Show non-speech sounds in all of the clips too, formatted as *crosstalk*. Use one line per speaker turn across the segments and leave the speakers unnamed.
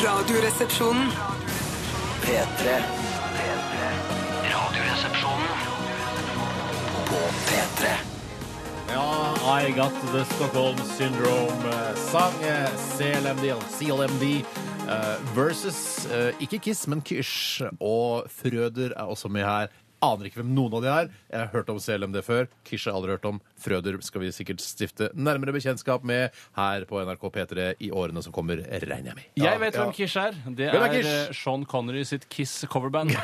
Radioresepsjonen.
P3. Radioresepsjonen på P3.
Ja, I got the Stockholm syndrome. eh, Sang eh, CLMD, CLMD eh, versus eh, ikke Kiss, men Kysj. Og Frøder er også med her. Aner ikke hvem noen av de er. Jeg har hørt om CLMD før. Kysj har jeg aldri hørt om. Frøder skal vi sikkert stifte nærmere bekjentskap med her på NRK P3 i årene som kommer, regner jeg med.
Jeg vet hvem Kish er. Det
Hvem er
er,
Kish?
eh, Sean Connery sitt Kiss coverband.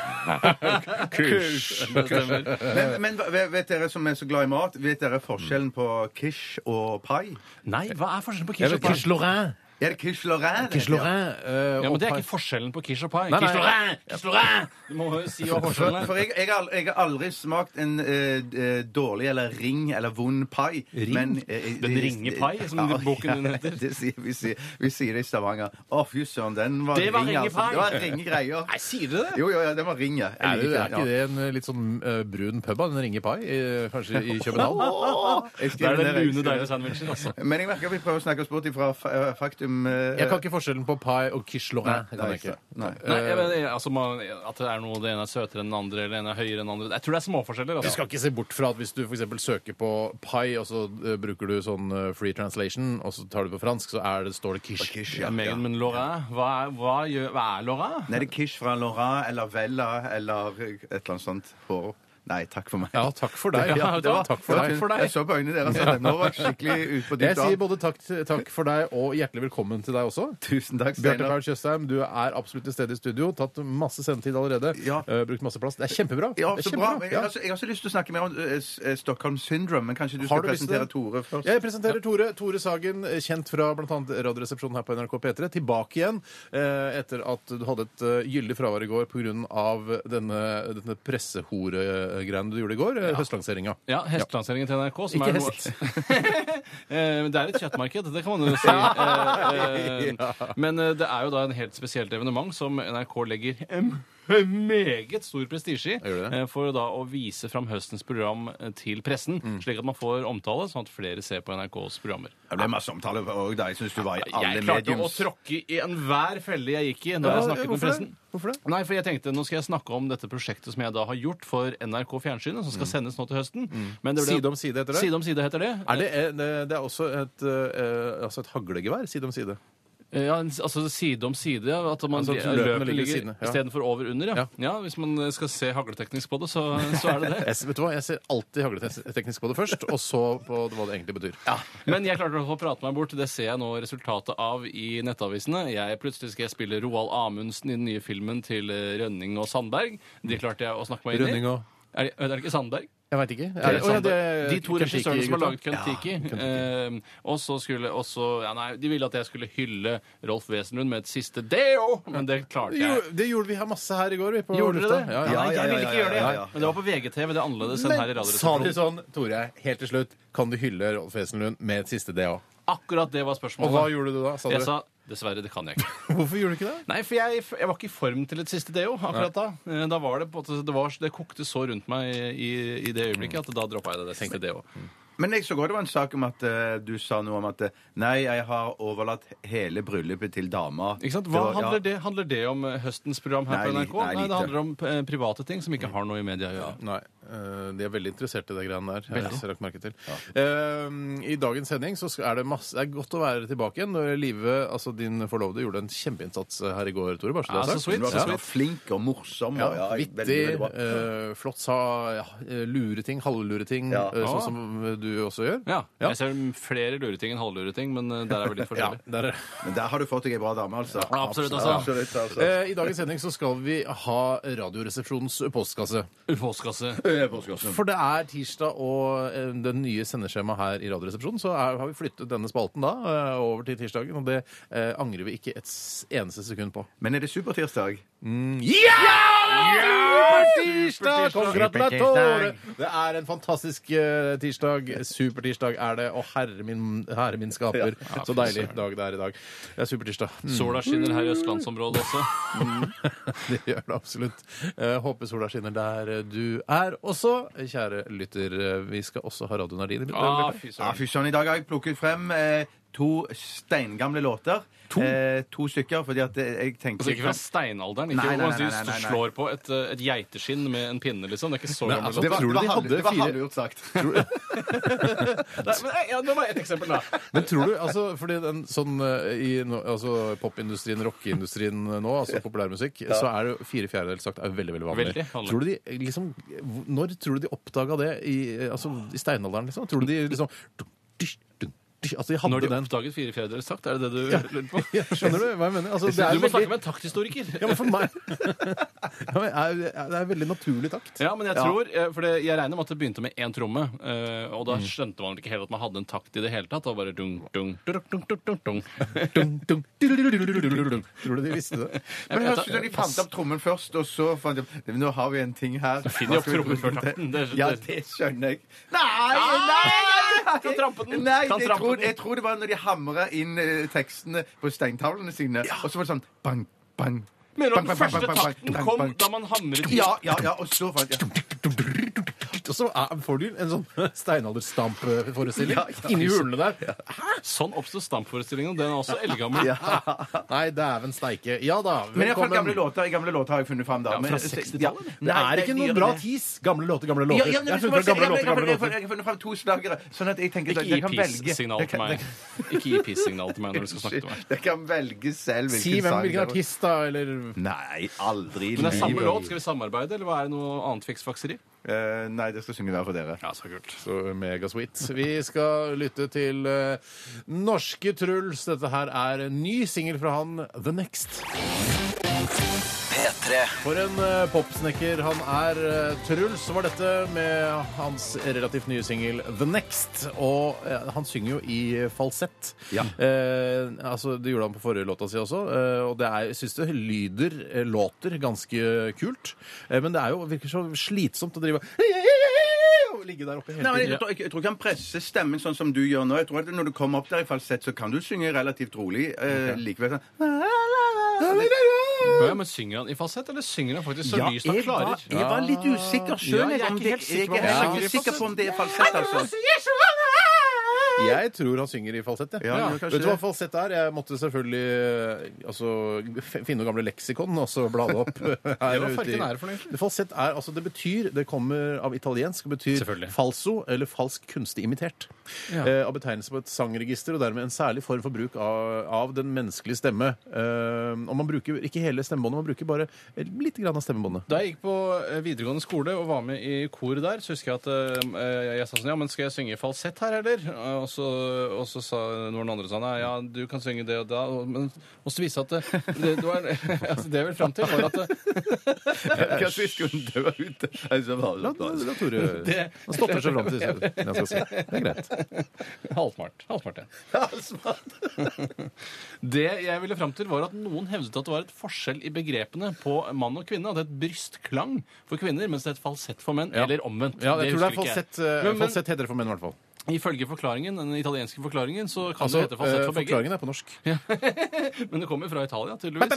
*laughs*
Kish.
Det stemmer.
Men, men hva- vet dere som er så glad i mat, vet dere forskjellen på quiche og pai?
Nei, hva er forskjellen på
Jeg
Kish og
vet
Pai?
Kish Lorrain.
Er det quiche lorraine?
Kish Lorrain. eh,
Ja, men Det er
og-
ikke forskjellen på Kish og Pai.
Nei, nei.
Kish Lorrain! Kish Lorrain! Du må jo si hva forskjellen er.
For jeg, jeg, har, al- jeg har aldri smakt en eh, eh, dårlig eller ring eller vond pai.
Ring?
eh,
Den
det-
ringepai, som
Ja,
boken din
ja,
heter.
*laughs* Det sier, vi, sier, vi sier det i Stavanger. Å, fy søren, den var
Det var
ring, altså.
ringepai.
Det var ringegreier.
Nei, sier du det?
Jo, jo, ja, den var ring, ja. Jeg
Er, det,
liker
er
den,
ikke
ja.
det en eh, litt sånn eh, brun pub, da? den ringer pai, eh, kanskje i København?
Jeg
Det
skriver
er den
ned, jeg
lune,
skriver
deilige sandwichen.
*laughs*
altså.
ned. Men jeg merker vi prøver å snakke oss bort ifra fa- eh, faktum. eh,
Jeg kan ikke forskjellen på pai og quiche lorrain. Det kan jeg ikke.
Nei.
Nei, jeg mener, altså, man, At det er noe det ene er søtere enn den andre, eller det ene er høyere enn den andre. Jeg tror det er småforskjeller.
Du
altså.
skal ikke se bort fra at hvis du for eksempel søker på pai, og så eh, bruker du sånn eh, free translation, og så tar du på fransk, så er det, står det quiche.
Quiche,
Ja,
ja.
Megan, men Lorrain, hva er, hva, gjør, hva er Lorrain?
Nei, det er quiche fra Lorraine eller Vella eller et eller annet sånt. Hår. Nei, takk for meg.
Ja, takk for
*laughs*
deg.
Ja,
det var, takk for
takk
deg.
for deg.
Jeg så på øynene deres at nå var jeg skikkelig ute på
Jeg
dypt
sier
vann.
både takk, takk for deg og hjertelig velkommen til deg også.
Tusen takk,
Bjarte
Steinar.
Paul Tjøstheim, du er absolutt til stede i studio. Tatt masse sendetid allerede.
Ja.
eh, Brukt masse plass. Det er kjempebra.
Ja,
Det er
så bra.
kjempebra.
Jeg, har så- jeg har så lyst til å snakke mer om eh, s- eh, Stockholm Syndrome, men kanskje du
Har
skal
du lyst til
presentere
det?
Tore først?
Jeg presenterer Tore. Tore Sagen, eh, kjent fra bl.a. Radioresepsjonen her på NRK P3, tilbake igjen eh, etter at du hadde et eh, gyldig fravær i går pga. denne, denne pressehoregreiene du gjorde i går. eh, Høstlanseringa.
Ja, Hestelanseringen til NRK, som
Ikke
er noe
hest.
*laughs* Eh, men Det er et kjøttmarked, det
*laughs*
kan man jo si. Eh, eh, Men eh, det er jo da en helt spesielt evenement som NRK legger en meget stor prestisje i.
Gjør det?
eh, For da å vise fram høstens program eh, til pressen,
Mm.
slik at man får omtale, sånn at flere ser på NRKs programmer.
Det ble masse omtale òg, da. Jeg syns du var i alle
Jeg klarte å
mediums.
tråkke i enhver felle jeg gikk i når jeg snakket med
hvorfor det?
pressen.
Hvorfor det?
Nei, for jeg tenkte, Nå skal jeg snakke om dette prosjektet som jeg da har gjort for NRK Fjernsynet, som skal sendes nå til høsten. Men det ble-
Side om side heter Mm. det.
Side om side heter det.
Er det, eh, det, det er også et, eh, altså et haglegevær side om side.
Ja, en- altså Side om side. ja, At man
Altså, at
ja,
løpene
løpene
ligger
ligger
ved siden av, ja.
istedenfor over under. Ja.
Ja.
Ja. Hvis man eh, skal se hagleteknisk på det, så,
*laughs*
så er det det.
Jeg, vet du hva, jeg ser alltid hagleteknisk på det først, og så på hva det egentlig betyr.
Men jeg klarte å prate meg bort. Det ser jeg nå resultatet av i nettavisene. Jeg Plutselig skal jeg spille Roald Amundsen i den nye filmen til eh, Rønning og Sandberg. De klarte jeg å snakke meg inn i.
Rønning og
Er, det- er det ikke Sandberg?
Jeg veit ikke. Er,
Er
det-
det
å, ja, det
Sandberg?
er
de to
Kentucky,
regissørene som har
gutta.
laget Kon-Tiki. eh, og så skulle også ja, Nei, de ville at jeg skulle hylle Rolf Wesenlund med et siste deo, men det klarte jeg.
Jo, det gjorde vi her masse her i går. Vi, på
Gjorde dere
lufta.
det?
Ja, ja.
Nei,
ja,
jeg
ja,
ville ikke
ja,
gjøre det.
ja, ja.
Men det var på VGTV. Det er annerledes enn her i
Men sa de
Radioresepsjonen.
sånn, Tore, helt til slutt, kan du hylle Rolf Wesenlund med et siste det òg?
*laughs* Akkurat det var spørsmålet.
Og hva gjorde du da? Sa
Jeg
du?
sa dessverre, det kan jeg ikke.
Hvorfor gjorde du ikke det?
Nei, for jeg, jeg var ikke i form til et siste deo akkurat da. Eh, Da var Det på en måte- det, var, det kokte så rundt meg i, i det øyeblikket at da droppa jeg det. det siste deo.
Men jeg så godt det var en sak om at eh, du sa noe om at eh, Nei, jeg har overlatt hele bryllupet til dama.
Ikke sant?
Det
Hva
var- ja.
handler det, handler det om eh, høstens program her
Nei,
på NRK?
li- nei,
Nei,
lite.
det handler om eh, private ting som ikke har noe i media å gjøre.
Nei, eh, De er veldig interessert i det greiene der. Jeg
Veldig.
har lagt merke til. Eh, I dagens sending så skal- er det masse Det er godt å være tilbake igjen. når Live, altså din forlovede, gjorde en kjempeinnsats eh, her i går, Tore. Bare så det er
Ja, så
sagt.
sweet,
Du var
så
så
sweet.
flink og morsom. og-
Ja,
jeg-
vittig,
veldig, veldig bra.
eh, flott sa ja, eh, lure ting, halvlure ting,
Ja.
eh,
Ah.
sånn som du også gjør.
Ja. Jeg ser flere lureting enn halvlureting, men eh, der er *laughs* vi litt
Ja,
forskjellige.
der er det.
Men der har du fått deg ei bra dame, altså.
Absolutt, altså.
Absolutt, altså.
Eh, I dagens sending så skal vi ha Radioresepsjonens postkasse.
Postkasse.
For det er tirsdag, og eh, det nye sendeskjemaet her i Radioresepsjonen, så er, har vi flyttet denne spalten da eh, over til tirsdagen, og det eh, angrer vi ikke et s- eneste sekund på.
Men er det supertirsdag?
Ja! Supertirsdag! Gratulerer!
Supertirsdag!
Det er en fantastisk eh, tirsdag. Supertirsdag er det, og herre min, herre min skaper. Så deilig dag det er i dag. Det er supertirsdag. *laughs* Mm.
Sola skinner her i østlandsområdet *laughs* også.
Det gjør det absolutt. Eh, håper sola skinner der eh, du er også, kjære lytter. eh, Vi skal også ha Radio Nardin. i-
Ah, fy søren.
Ja, fy søren, i dag har jeg plukket frem eh, to steingamle låter. To, eh, to stykker, fordi at eh, jeg tenker
Altså Ikke fra steinalderen.
Nei,
Ikke
nei,
hvor man
nei, nei, nei, nei.
slår på et, eh, et geiteskinn med en pinne, liksom. Det er ikke så
Men,
gammel
altså, det
låt.
tror du de
halv-
hadde
det var
fire
halvgjort sagt.
Nei, men, eh, ja, Det var ett eksempel, da.
Men tror du, altså, fordi den sånn eh, i nå- altså, popindustrien, rockeindustrien nå, altså populærmusikk, så er det jo fire fjerdedels sagt er veldig, veldig vanlig.
Veldig vanlig.
Tror du de liksom hvor- Når tror du de oppdaga det i, eh, altså, i steinalderen, liksom? Tror du de liksom Altså, de hadde
Når de
den
oppdaget fire fjerdedeler takt, er det det du lurer
*laughs*
på?
ja, Skjønner du hva jeg mener? Altså, det er
Du må
veldig-
snakke med en takthistoriker.
Ja, men for meg *laughs* ja, men er, er, Det er veldig naturlig takt.
Ja, men jeg tror, eh, for det, jeg regner med at det begynte med én tromme. eh, Og
Mm.
da skjønte man vel ikke helt at man hadde en takt i det hele tatt. Det var bare dung, dung, dung, dung, dung,
*laughs*
dung, dung.
Dum, dum, dudududududududududududududududududududududududududud. Tror du de visste det?
Men høres ut som de fant opp trommen først, og så fant de Nå har vi en ting her.
finner de opp trommen før takten, det er- Ah!
Ja, det skjønner jeg. Nei! nei, nei.
Kan trampe den.
Nei,
Kan
jeg
trampe
tror,
den.
jeg tror det var når de hamra inn eh, tekstene på steintavlene sine, og så var det sånn bang, bang.
Mener du at den
bang, bang, bang,
første
bang, bang,
takten
bang,
kom
bang.
da man hamret i
Ja, ja, ja, og så fant jeg
Og så er- får du en sånn steinalderstamp-forestilling
Ja, ja.
inni hulene der.
Sånn oppsto stampforestillingen. Den er også
*laughs*
eldgammel.
Nei, dæven steike. Ja da,
Men i hvert fall gamle
velkommen.
låter, gamle låter har jeg funnet fram. da.
Ja,
Men-
fra
så-
60-tallet,
ja.
eller?
Det
Nei,
er ikke noe
nyere
bra
enn det.
tis. Gamle låter, gamle låter.
Ja, ja, men
Jeg
jeg,
har
skal
funnet
bare
fram
si-
gamle låter, gamle
jeg, jeg, jeg,
låter.
jeg, jeg har funnet fram to slagere, sånn at jeg tenker at
Ikke
jeg
gi
kan velge
pis-signal
Jeg
til
kan-
meg. Ikke gi pis-signal til meg når du skal snakke til meg.
Shit, Jeg kan velge selv hvilken
Si hvem
sang
hvilken
det var.
artist, da, eller *laughs*
Nei, aldri
*laughs*
i
Men det er samme
livet.
låt. Skal vi samarbeide, eller hva er det noe annet fiksfakseri?
Eh, nei, det skal synge hver for dere.
Ja, så kult.
Så megasweet. Vi skal lytte til eh, norske Truls. Dette her er en ny singel fra han, The Next.
P3.
For en eh, popsnekker han er. eh, Truls var dette med hans relativt nye singel The Next. Og eh, han synger jo i eh, falsett.
Ja.
Eh, altså, det gjorde han på forrige låta si også, eh, og det er, jeg syns det lyder, eh, låter, ganske kult. Eh, men det er jo, virker så slitsomt å drive og ligge der oppe hele
Nei, men
tiden.
jeg, tror, jeg, jeg tror ikke han presser stemmen sånn som du gjør nå. Jeg tror at Når du kommer opp der i falsett, så kan du synge relativt rolig. Eh, Likevel sånn
Ja, men Synger han i fasett, eller synger han faktisk så lyst han
jeg
klarer?
var, jeg var litt usikker
Ja,
sjøl.
jeg er ikke helt sikker på om han
jeg er
synger i
ikke sikker
falsett.
på om det er falsett, altså.
Jeg tror han synger i falsett. jeg.
Ja,
Ja.
jo, kanskje
Vet du hva
det.
falsett er? Jeg måtte selvfølgelig eh, altså, f- finne noen gamle leksikon og så bla det opp. *laughs* Her ute
var
i-
farken ære for noe, egentlig.
Falsett er, altså det betyr, det kommer av italiensk, og betyr
Selvfølgelig.
falso eller falsk kunstig imitert.
Ja.
Eh, av betegnelse på et sangregister og dermed en særlig form for bruk av, av den menneskelige stemme. Eh, og man bruker ikke hele stemmebåndet, man bruker bare litt grann av stemmebåndet.
Da jeg gikk på eh, videregående skole og var med i kor der, så husker jeg at eh, jeg sa sånn Ja, men skal jeg synge i falsett her, eller? Eh, Og så, og så sa noen andre sånn Nei, ja, du kan synge det og da. Og, men, og så viste det seg at det, det, det, var, *laughs* altså, det jeg vil fram til, var at det,
Kanskje vi skulle dø ute. Altså,
La,
bare-
la, la Tore
*laughs*
Han stopper seg fram til det jeg skal si. Det er greit.
*laughs* Halvsmart. Halvsmart,
*laughs*
ja. *laughs* Det jeg ville fram til, var at noen hevdet at det var et forskjell i begrepene på mann og kvinne. At det het brystklang for kvinner, mens det het falsett for menn. Eller omvendt.
Ja, jeg tror det er
husker ikke jeg.
falsett, eh,
Men- men-
falsett heter det for menn, i hvert fall.
Ifølge forklaringen, den italienske forklaringen, så kan
Altså,
det hete falsett for
eh,
begge.
forklaringen er på norsk.
Men det kommer fra Italia, tydeligvis.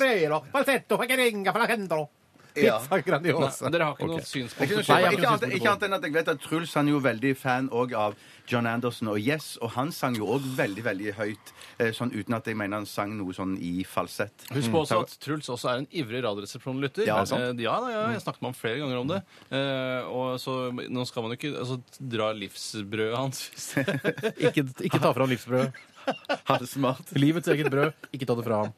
Ja.
Nei, dere har ikke noe
Ok.
synspunkt
Ikke
på
noe
Nei, jeg
skjønt.
har
Ikke
ikke
annet- ikke annet enn at jeg vet at Truls han er jo veldig fan også av John Anderson og Yes, og han sang jo òg veldig, veldig høyt, eh, sånn uten at jeg mener han sang noe sånn i falsett.
Husk på
Mm,
også at Truls også er en ivrig Radioresepsjon-lytter.
Ja, sant.
Eh, ja, da, ja,
Mm.
jeg snakket med ham flere ganger om det. Eh, og så, nå skal man jo ikke altså, dra livsbrødet hans.
Ikke, ikke ta fra ham livsbrødet.
Halvsmart.
*laughs* Livets eget brød. Ikke ta det fra ham.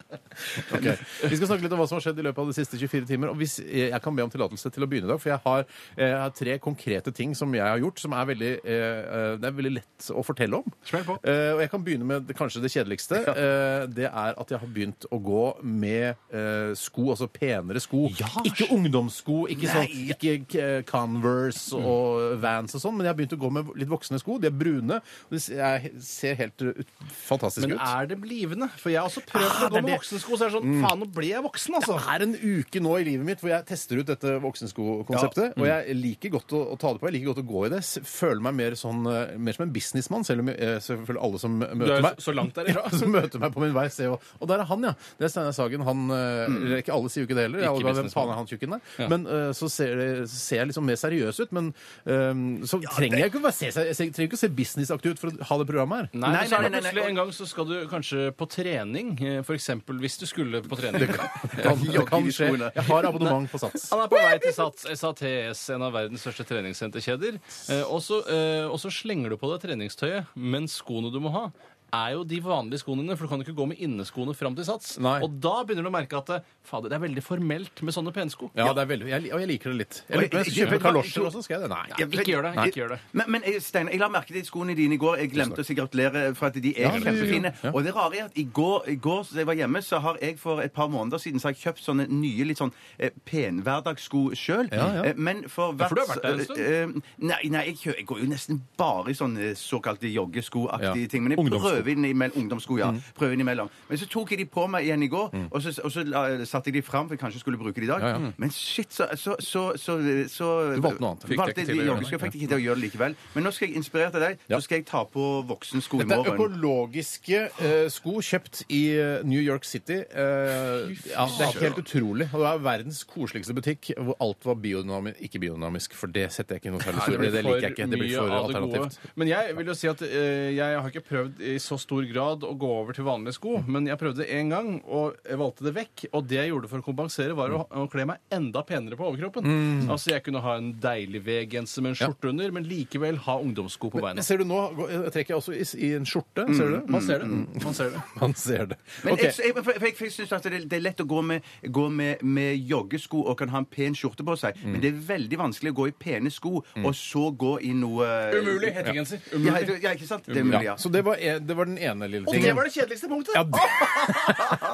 Ok. Vi skal snakke litt om hva som har skjedd i løpet av de siste 24 timer. Og hvis eh, jeg kan be om tillatelse til å begynne i dag, for jeg har, eh, jeg har tre konkrete ting som jeg har gjort, som er veldig, eh, eh, det er veldig lett å fortelle om.
Smell på.
Eh, og jeg kan begynne med det- kanskje det kjedeligste. Eh, det er at jeg har begynt å gå med eh, sko, altså penere sko. Ikke ungdomssko, ikke, sånn, ikke k- Converse
Mm.
og Vans og sånn, men jeg har begynt å gå med litt voksne sko. De er brune, og de s- er- ser helt uh, ut- fantastiske
Men
ut.
er det blivende? For jeg har også prøvd
Ah,
å gå
det er
med
det.
voksensko, så er det sånn Faen, nå ble jeg voksen, altså!
Det er en uke nå i livet mitt hvor jeg tester ut dette voksenskokonseptet.
mm.
Og jeg liker godt å, å ta det på. Jeg liker godt å gå i det. S- Føler meg mer, sånn, eh, mer som en businessmann, selv om eh, selvfølgelig alle som
Du
møter
er
meg
så- så langt
*laughs*
derifra.
Ja, som møter meg på min vei, ser jo Og der er han, ja. Det er Steinar Sagen. Han eh, eller Ikke alle sier jo ikke det heller.
Mm. Ikke
Jeg, aner hvem
businessmann.
faen er han tjukken der? Men eh, så ser, det- så ser jeg liksom mer seriøs ut. Men eh, så trenger jeg ikke å være- se, se, trenger ikke å se businessaktig ut for å ha det programmet her.
Nei,
Nei,
men så er *laughs*
nei,
det
nei, nei,
plutselig en gang så skal du kanskje på trening, eh, for eksempel hvis du skulle på trening.
Det kan skje. Jeg har abonnement på Sats.
Han er på vei til Sats, SATS, en av verdens største treningssenterkjeder. Eh, og så eh, og så slenger du på deg treningstøyet, men skoene du må ha, er jo de vanlige skoene dine, for du kan jo ikke gå med inneskoene fram til Sats.
Nei.
Og da begynner du å merke at eh, fader, det er veldig formelt med sånne pensko.
Ja, det er veldig, jeg, og jeg liker det litt. Jeg
Og
liker,
jeg-
hvis du kjøper
jeg-
kalosjer også, skal jeg det? Nei.
Ikke gjør det.
Nei.
Ikke gjør det.
Men, men eh, Steiner, jeg la merke til skoene dine i går. Jeg glemte å si gratulere eh, for at de er
Ja,
kjempefine.
ja.
Og det rare er at i går, i går da jeg var hjemme, så har jeg for et par måneder siden så har jeg kjøpt sånne nye litt sånn eh, penhverdagssko sjøl.
Ja, ja.
Eh, Men for
Ja,
hvert
for du har vært der en stund.
eh, eh, Nei, nei jeg, kjø- jeg går jo nesten bare i sånne såkalte joggeskoaktige
Ja.
ting. Men jeg
Ungdomssko.
prøver innimellom. Ungdomssko,
Mm.
ja. Prøver innimellom. Men så tok jeg de på meg igjen i går, og så, og så la, satte jeg de fram, for jeg kanskje skulle bruke de i dag.
Ja, ja.
Men shit, så, så, så, så, så
Du valgte noe annet.
Fikk
Valgte
det ikke til å
de
gjøre
joggesko,
det.
fikk det ikke til å gjøre det likevel. Men nå skal jeg inspirere til deg.
Ja.
Så skal jeg ta på voksensko i
Dette er
morgen.
økologiske eh, sko kjøpt i eh, New York City. Eh, ja, det er helt utrolig. Og det er verdens koseligste butikk hvor alt var biodynamisk. Ikke biodynamisk, for det setter jeg ikke noe særlig
Nei,
for. Det, det liker jeg ikke. Det blir
mye
for
av det
alternativt.
gode. Men jeg vil jo si at eh, jeg har ikke prøvd i så stor grad å gå over til vanlige sko, men jeg prøvde det én gang og jeg valgte det vekk. Og det jeg gjorde for å kompensere, var å, å kle meg enda penere på overkroppen.
Mm.
Altså jeg kunne ha en deilig V-genser med en skjorte under, men likevel ha ungdomssko på
Men
beina.
ser du nå går- jeg trekker jeg også i, i en skjorte. Mm, Ser du det? Mm.
Man ser det. Man ser det.
*laughs* Man ser det.
Men
Ok.
jeg, jeg, for- for jeg, for jeg synes at det, det er lett å gå, med, gå med, med joggesko og kan ha en pen skjorte på seg,
Mm.
men det er veldig vanskelig å gå i pene sko og så gå i noe eh,
Umulig hettegenser.
Ja,
Umulig.
det- ja, ikke sant? Det er mulig,
ja.
ja.
Så det var, en, det var den ene lille
Og
tingen.
det var det kjedeligste punktet!
Ja,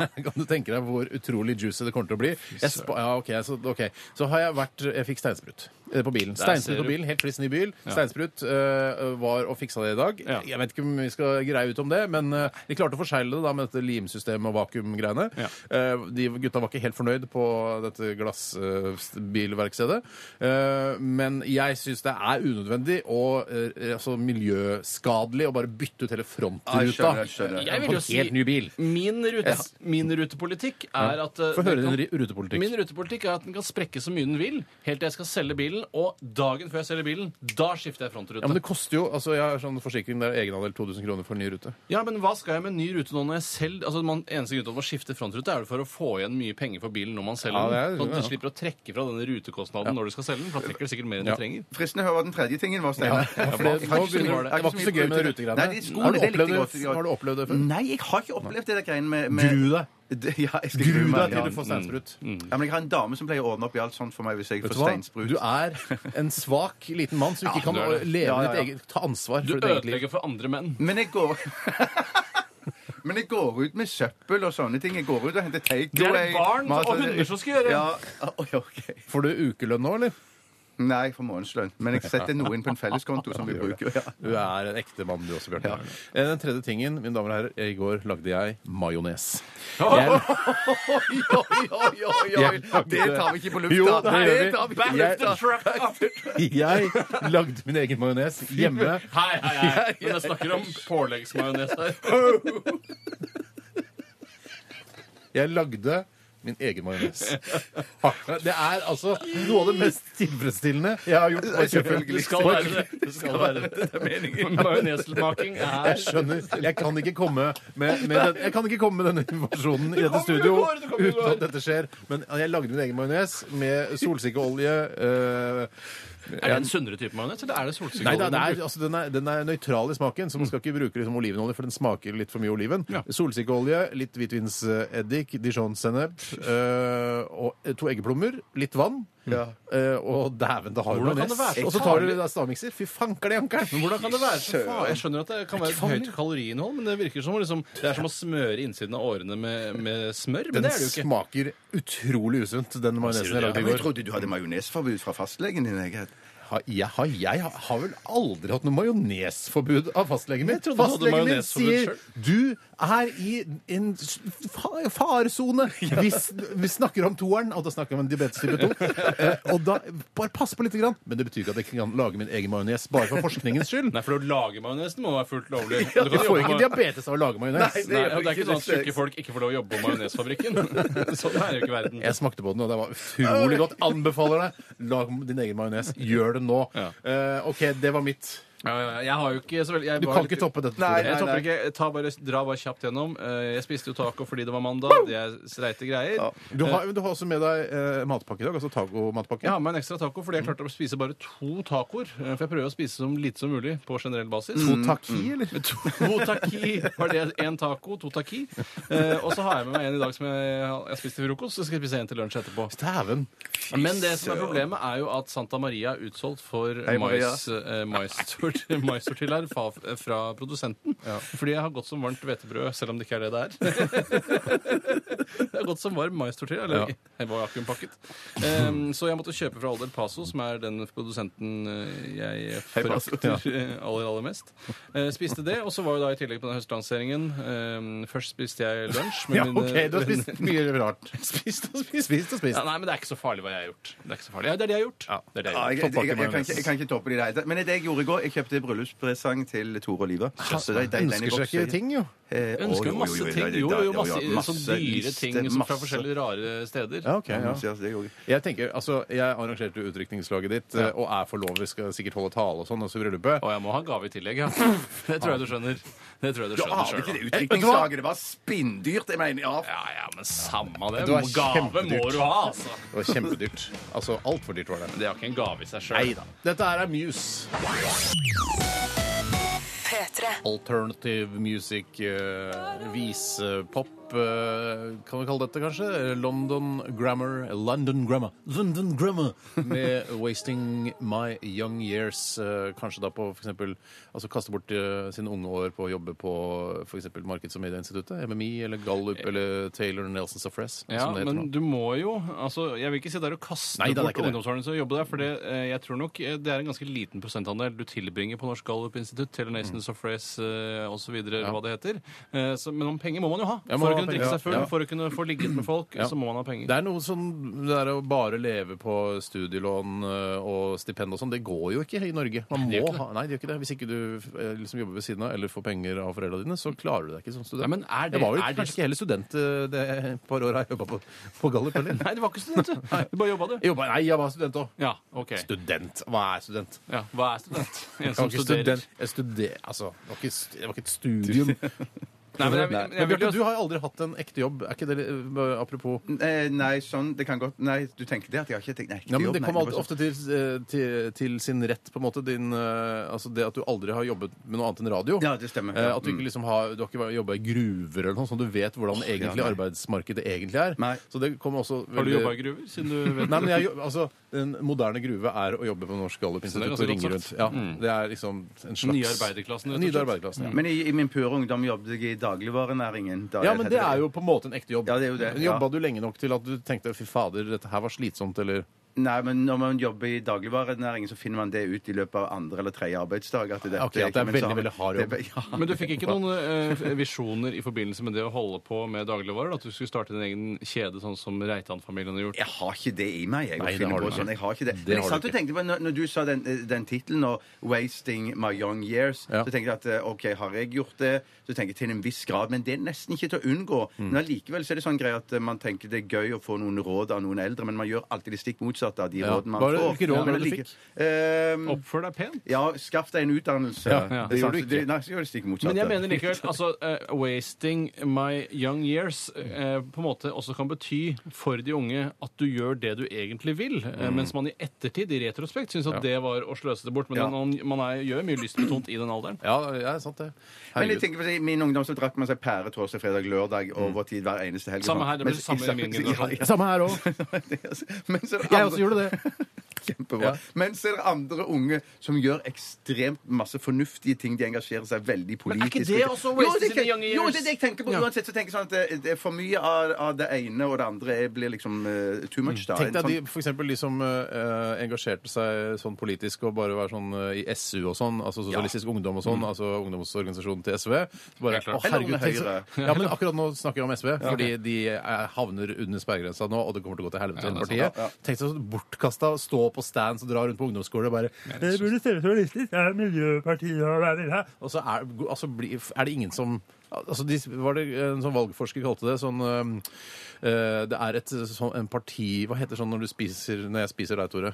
det... *laughs* kan du tenke deg hvor utrolig juicy det kommer til å bli? Jeg spa... ja, ok, så, ok. så har jeg vært Jeg fikk steinsprut eh, på bilen.
ser
Steinsprut
du.
på bilen, Helt kliss ny bil. Steinsprut eh, var og fiksa det i dag.
Ja.
Jeg vet ikke om vi skal greie ut om det, men eh, de klarte å forsegle det da med dette limsystemet og vakuumgreiene.
Ja.
Eh, de gutta var ikke helt fornøyd på dette eh, glassbilverkstedet. Eh, men jeg syns det er unødvendig og eh, altså miljøskadelig å bare bytte ut hele
Ja, jeg
frontruta
skjønner, jeg skjønner.
Jeg vil
på
jo
en
si
helt ny bil.
Min, rute, min rutepolitikk er at eh,
Få høre
det
din
kan-
ri- rutepolitikk.
Min rutepolitikk er at den kan sprekke så mye den vil, helt til jeg skal selge bilen. Og dagen før jeg selger bilen, da skifter jeg frontrute.
Ja, men det koster jo altså Jeg har sånn forsikring der egenandel 2000 kroner for en ny rute.
hva skal jeg med ny rute nå når jeg selv Altså, man, Eneste grunn til at man skifter frontrute, er vel for å få igjen mye penger for bilen når man selger
Ja, det er-
den. Sånn at
ja.
du slipper å trekke fra denne rutekostnaden når du skal selge den. For da trekker du sikkert mer enn
Ja.
du trenger.
Fristende å høre hva den tredje tingen var, Steinar.
Ja, for det, nå begynner, det var ikke så gøy med de rutegreiene.
Nei, de skoene,
har, du
det likte
opplevd
jeg
det,
godt.
har du opplevd det før?
Nei, jeg har ikke opplevd det der greiene med, med
Gru deg.
Det- *laughs* Ja, jeg skal
Gru
meg,
deg til
ja.
du får steinsprut.
Mm.
Ja, men jeg har en dame som pleier å ordne opp i alt sånt for meg hvis jeg
Vet
får
du hva?
steinsprut.
Du er en svak liten mann som ikke
Ja,
kan
du er det.
leve
Ja, ja, ja.
ditt eget Ta ansvar
Du
for ditt eget liv.
ødelegger for andre menn.
Mm.
Men jeg går Men jeg går *laughs* ut med søppel og sånne ting. Jeg går ut og henter take
Det er det barn og hunder som skal gjøre.
Ja, oi, ok.
Får du ukelønn nå, eller?
Nei, for månedslønn. Men jeg setter noe inn på en felleskonto som vi bruker. Ja.
Du er en ekte mann, du også, Bjarte. Eh, Den tredje tingen, mine damer og herrer, i går lagde jeg majones. Jeg-
Oi, oi, oi, oi,
Jeg lagde-
Det tar vi ikke på
Jo,
lufta.
det gjør vi.
tar vi
Back
ikke
Jeg-
up the truck up.
Jeg lagde min egen majones hjemme.
Hei, hei, hei. Men jeg snakker om påleggsmajones her.
Jeg lagde min egen majones. Det er altså noe av det mest tilfredsstillende jeg har gjort. på et kjøkken.
Det skal være det. Det skal være det. Det er meningen. Majoneslmaking er
Jeg skjønner. Jeg kan ikke komme med, med, den, jeg kan ikke komme med denne informasjonen i dette
kommer i
studio
går, det kommer i
uten
går.
at dette skjer. Men jeg lagde min egen majones med solsikkeolje. eh,
Er det en sunnere type majones, eller er det solsikkeolje?
Nei, det er, altså, den, er, den er nøytral i smaken, så man skal ikke bruke liksom, olivenolje, for den smaker litt for mye oliven.
Mm. Ja.
Solsikkeolje, litt hvitvinseddik, dijon-sennep eh, og to eggeplommer, litt vann. eh, og dæven, det har du
Hvordan kan
majones.
det være så
Og så tar du
farlig?
da stavmikser. Fy fanker det
Men
jankeren!
hvordan kan det være så farlig? Jeg skjønner at det kan være et høyt kaloriinnhold, men det virker som å liksom, det er som å smøre innsiden av årene med, med smør. Men
Den
det er det jo ikke.
smaker utrolig usunt, den majonesen jeg
det,
lagde i
Men jeg
går.
trodde du hadde majonesforbud fra fastlegen din. Jeg.
Har- Jeg har, jeg har- har vel aldri hatt noe majonesforbud av fastlegen min.
trodde du hadde
Fastlegen min
majonesforbud
sier du er i en s- fa- faresone.
*laughs*
Hvis vi snakker om toeren, og da snakker vi om diabetes type 2. eh, Og da, bare pass på litt, grann. men det betyr ikke at jeg ikke kan lage min egen majones bare for forskningens skyld.
Nei, for å lage majonesen må være fullt *laughs* lovlig. Du
Du
kan
får
jobbe
ikke
med-
diabetes av å lage majones.
Nei, og det er ikke sånn at tjukke folk ikke får lov å jobbe på majonesfabrikken. *laughs* Sånn er jo ikke verden.
Jeg smakte på den, og det var utrolig godt. Anbefaler deg. Lag din egen majones. Gjør det nå.
Ja.
Eh, OK, det var mitt.
Ja, ja, Jeg har jo ikke så veldig jeg
Du
var
kan
litt-
ikke toppe dette, Tore.
Nei, jeg
Nei,
topper
nei.
ikke. Jeg tar bare, dra bare kjapt gjennom. Eh, Jeg spiste jo taco fordi det var mandag. Det er streite greier.
Du har, du har også med deg eh, matpakke i dag, altså taco-matpakke.
Jeg har med en ekstra taco fordi jeg klarte å spise bare to tacoer. eh, For jeg prøver å spise så lite som mulig på generell basis.
To taki, eller?
To taki var det. Én taco, to taki. Eh, og så har jeg med meg en i dag som jeg, jeg spiste til frokost. Så skal jeg spise en til lunsj etterpå.
Dæven.
Men det som er problemet, er jo at Santa Maria er utsolgt for
Hei, Maria.
mais, eh, maissort- *laughs* maissortiller fra, eh, fra produsenten. Fordi jeg har gått som varmt hvetebrød, selv om det ikke er det det
*laughs*
er. det har gått som varm maistortilla. Eller
Ja.
jeg var vakuumpakket. Em, så jeg måtte kjøpe fra Alder Paso, som er den produsenten eh, jeg forakter eh, *laughs* aller, aller mest. Eh, spiste det, og så var jo da i tillegg på den høstlanseringen em, Først spiste jeg lunsj med
Ja,
mine
OK, du har spist *laughs* mye rart.
Spist og spist.
Spist og spist.
Ja, nei, men det er ikke så farlig hva jeg har gjort. Det er ikke så farlig. Ja, det er det jeg har gjort. Det er det jeg
Ja,
har gjort.
jeg, jeg, jeg, jeg, kan
Toppmajones.
ikke, jeg kan ikke toppe de der. Men det jeg gjorde i går, jeg kjøpte bryllupspresang til Tore Olive. Så det- det- den i
Ønsker seg
boks,
ikke
jeg-
ting, jo.
Eh, å,
Ønsker
jo,
masse
jo, jo,
ting.
det- det-
Jo,
det-
jo, masse,
masse
sånn dyre
liste,
ting som fra
masse-
forskjellige rare steder.
Ja, ok,
Ja,
ja.
masse, altså, det gjorde jeg.
Jeg tenker, altså, jeg arrangerte jo utdrikningslaget ditt, eh, og er forlover, skal sikkert holde tale og sånn også i bryllupet.
Og jeg må ha gave i
*laughs*
tillegg, ja. Det tror jeg du skjønner. Det tror jeg du
Du
skjønner
aner ikke
Eh,
det
sjøl.
utdrikningslaget! Det var spinndyrt! Jeg mener, ja.
Ja, ja, men samme det.
Det var
Gave må
kjempedyrt.
du ha, altså.
Det var kjempedyrt. Altså, altfor dyrt var det.
Men det er ikke en gave i seg
Nei
sjøl.
da. Dette her er Muse.
P3.
Alternative music, eh, visepop, eh, kan vi kalle dette kanskje? London Grammar. London Grammar. London Grammar!
*laughs*
Med Wasting My Young Years. eh, kanskje da på for eksempel, altså kaste bort eh, sine unge år på å jobbe på for eksempel Markeds- og medieinstituttet, MMI, eller Gallup, eller Taylor Nelson Safres,
Eh, Ja,
som det heter
men
nå.
du må jo altså, Jeg vil ikke sitte der og kaste
Nei, det er
bort
ikke det.
ungdomsårene til å jobbe der, for det, eh, jeg tror nok eh, det er en ganske liten prosentandel du tilbringer på Norsk Gallup-institutt, Telenation mm. Soffrays osv., eller hva det heter. Eh, så, men om penger må man jo ha.
Ja, man må
for å
ha
kunne
penger.
drikke seg full,
Ja.
for å kunne få ligget med folk,
Ja.
så må man ha penger.
Det er noe som det der å bare leve på studielån eh, og stipend og sånn, det går jo ikke i Norge. Man
det
må
gjør ikke det.
ha Nei, det gjør ikke det. Hvis ikke du eh, liksom jobber ved siden av eller får penger av foreldrene dine, så klarer du deg ikke som student.
Nei, men er det-
jeg var vel
er det-
kanskje ikke heller student eh, det par åra jeg jobba på, på Gallup, *laughs* eller?
Nei, du var ikke student, du. Du bare jobba, du.
Jeg jobbet, nei, jeg var student òg.
Ja, ok.
Student? Hva er student?
Ja, hva er student? En
Jeg var
som
ikke
studerer.
student. Jeg studer, altså, det var ikke, st- det var ikke et *laughs* studium.
Nei, men jeg,
Nei.
jeg,
Men
jeg vil
Bjarte,
jo
du har jo aldri hatt en ekte jobb. Er ikke det eh, Apropos
Eh, Nei, sånn Det kan godt Nei, du tenker det at jeg har ikke tenkt Nei,
Ja, men Det
nei,
kommer
var
alt- ofte til, eh, til, til sin rett, på en måte. Din, eh, altså det at du aldri har jobbet med noe annet enn radio.
sånn. Ja, det stemmer. Mm.
Eh,
Ja,
At du ikke liksom har, du har ikke jobba i gruver eller noe sånt. Du vet hvordan egentlig
nei.
arbeidsmarkedet egentlig er.
Nei.
Så det kommer også
Har du
veldig-
jobba i gruver, siden du vet
Nei, men jeg, jobb- altså, En moderne gruve er å jobbe på Norsk Gallup-institutt
Det er ganske
og ringe
godt
rundt.
sagt. Mm.
Ja, Det er liksom en slags
Nye arbeiderklassen, rett og
Nye
slett.
arbeiderklassen, ja.
Men i, i min pure ungdom jobbet jeg i dagligvarenæringen. Da
Ja, men det er jo på en måte en ekte jobb.
Ja, det er jo det,
Men
ja.
Jobba du lenge nok til at du tenkte fy fader, dette her var slitsomt, eller
Nei, men når man jobber i dagligvarenæringen, så finner man det ut i løpet av andre eller tredje arbeidsdag. At det,
Ok, at det er
men
veldig,
så har-
veldig hard jobb.
sånn- det er- *laughs* ja.
Men du fikk ikke noen eh, visjoner i forbindelse med det å holde på med dagligvarer? At du skulle starte din egen kjede, sånn som Reitan-familien har gjort?
Jeg har ikke det i meg. Jeg, å
Nei, det
finne
har
på
du ikke.
sånn. jeg har ikke det.
Det
Men jeg
har
satt
du
og tenkte på, når, når du sa den, den tittelen, og 'Wasting my young years',
Ja.
så tenkte jeg at eh, OK, har jeg gjort det? Så tenker jeg til en viss grad, men det er nesten ikke til å unngå.
Mm.
Men allikevel så er det sånn greie at eh, man tenker det er gøy å få noen råd av noen eldre, men man gjør alltid det stikk motsatte av de
Ja.
rådene man
Hva er det-
får.
hvilke råd var
Men
det du
allike- Ehm,
Oppfør deg pent.
ja, skaff deg en utdannelse.
Ja, ja. Det gjorde
sant,
du ikke.
Det, nei, så gjør det stikk motsatte.
Men jeg mener likevel altså, eh, wasting my young years eh, på en måte også kan bety for de unge at du gjør det du egentlig vil, eh, mens man i ettertid, i retrospekt, syns at det var å sløse det bort. Men
Ja.
man, man er, gjør mye lystbetont i den alderen.
Ja, ja sant det.
Men jeg
Herregud.
tenker på å si, I min ungdom så drakk man seg pære torsdag, fredag, lørdag
Mm.
over tid hver eneste helg.
Samme her, det blir det samme i min
*laughs*
generasjon.
Samme her òg.
Men så er det
Jeg
andre-
også gjorde det.
Kjempebra.
Ja.
Men så er det andre unge som gjør ekstremt masse fornuftige ting. De engasjerer seg veldig
Men er
politisk.
ikke det også wasted
Jo, det er ikke-
in young years?
Jo, det er det jeg tenker på.
Ja.
Uansett så tenker jeg sånn at det, det er for mye av, av det ene og det andre er- blir liksom eh, too much, da.
*laughs* Mm. Tenk
En
deg de,
sånn-
for eksempel, de som eh, engasjerte seg sånn politisk og bare var sånn eh, i SU og sånn, altså Sosialistisk Ungdom og sånn, altså ungdomsorganisasjonen til SV. Så bare,
Mm. Helt klart.
å, herregud,
Eller Unge
tenk så-
Høyre.
Ja, men akkurat nå snakker jeg om SV, fordi de eh, havner under sperregrensa nå, og det kommer til å gå til helvete
Ja,
med
det er sant.
partiet. Tenk deg så bortkasta å stå på stands og dra rundt på ungdomsskole og bare «Eh, burde stemme sosialistisk, det er Miljøpartiet og hva vil jeg?» Og så er, altså, blir- er det ingen som Altså, de, var det En sånn valgforsker kalte det sånn øhm, øh, Det er et sånn en parti Hva heter sånn når du spiser Når jeg spiser deg, Tore?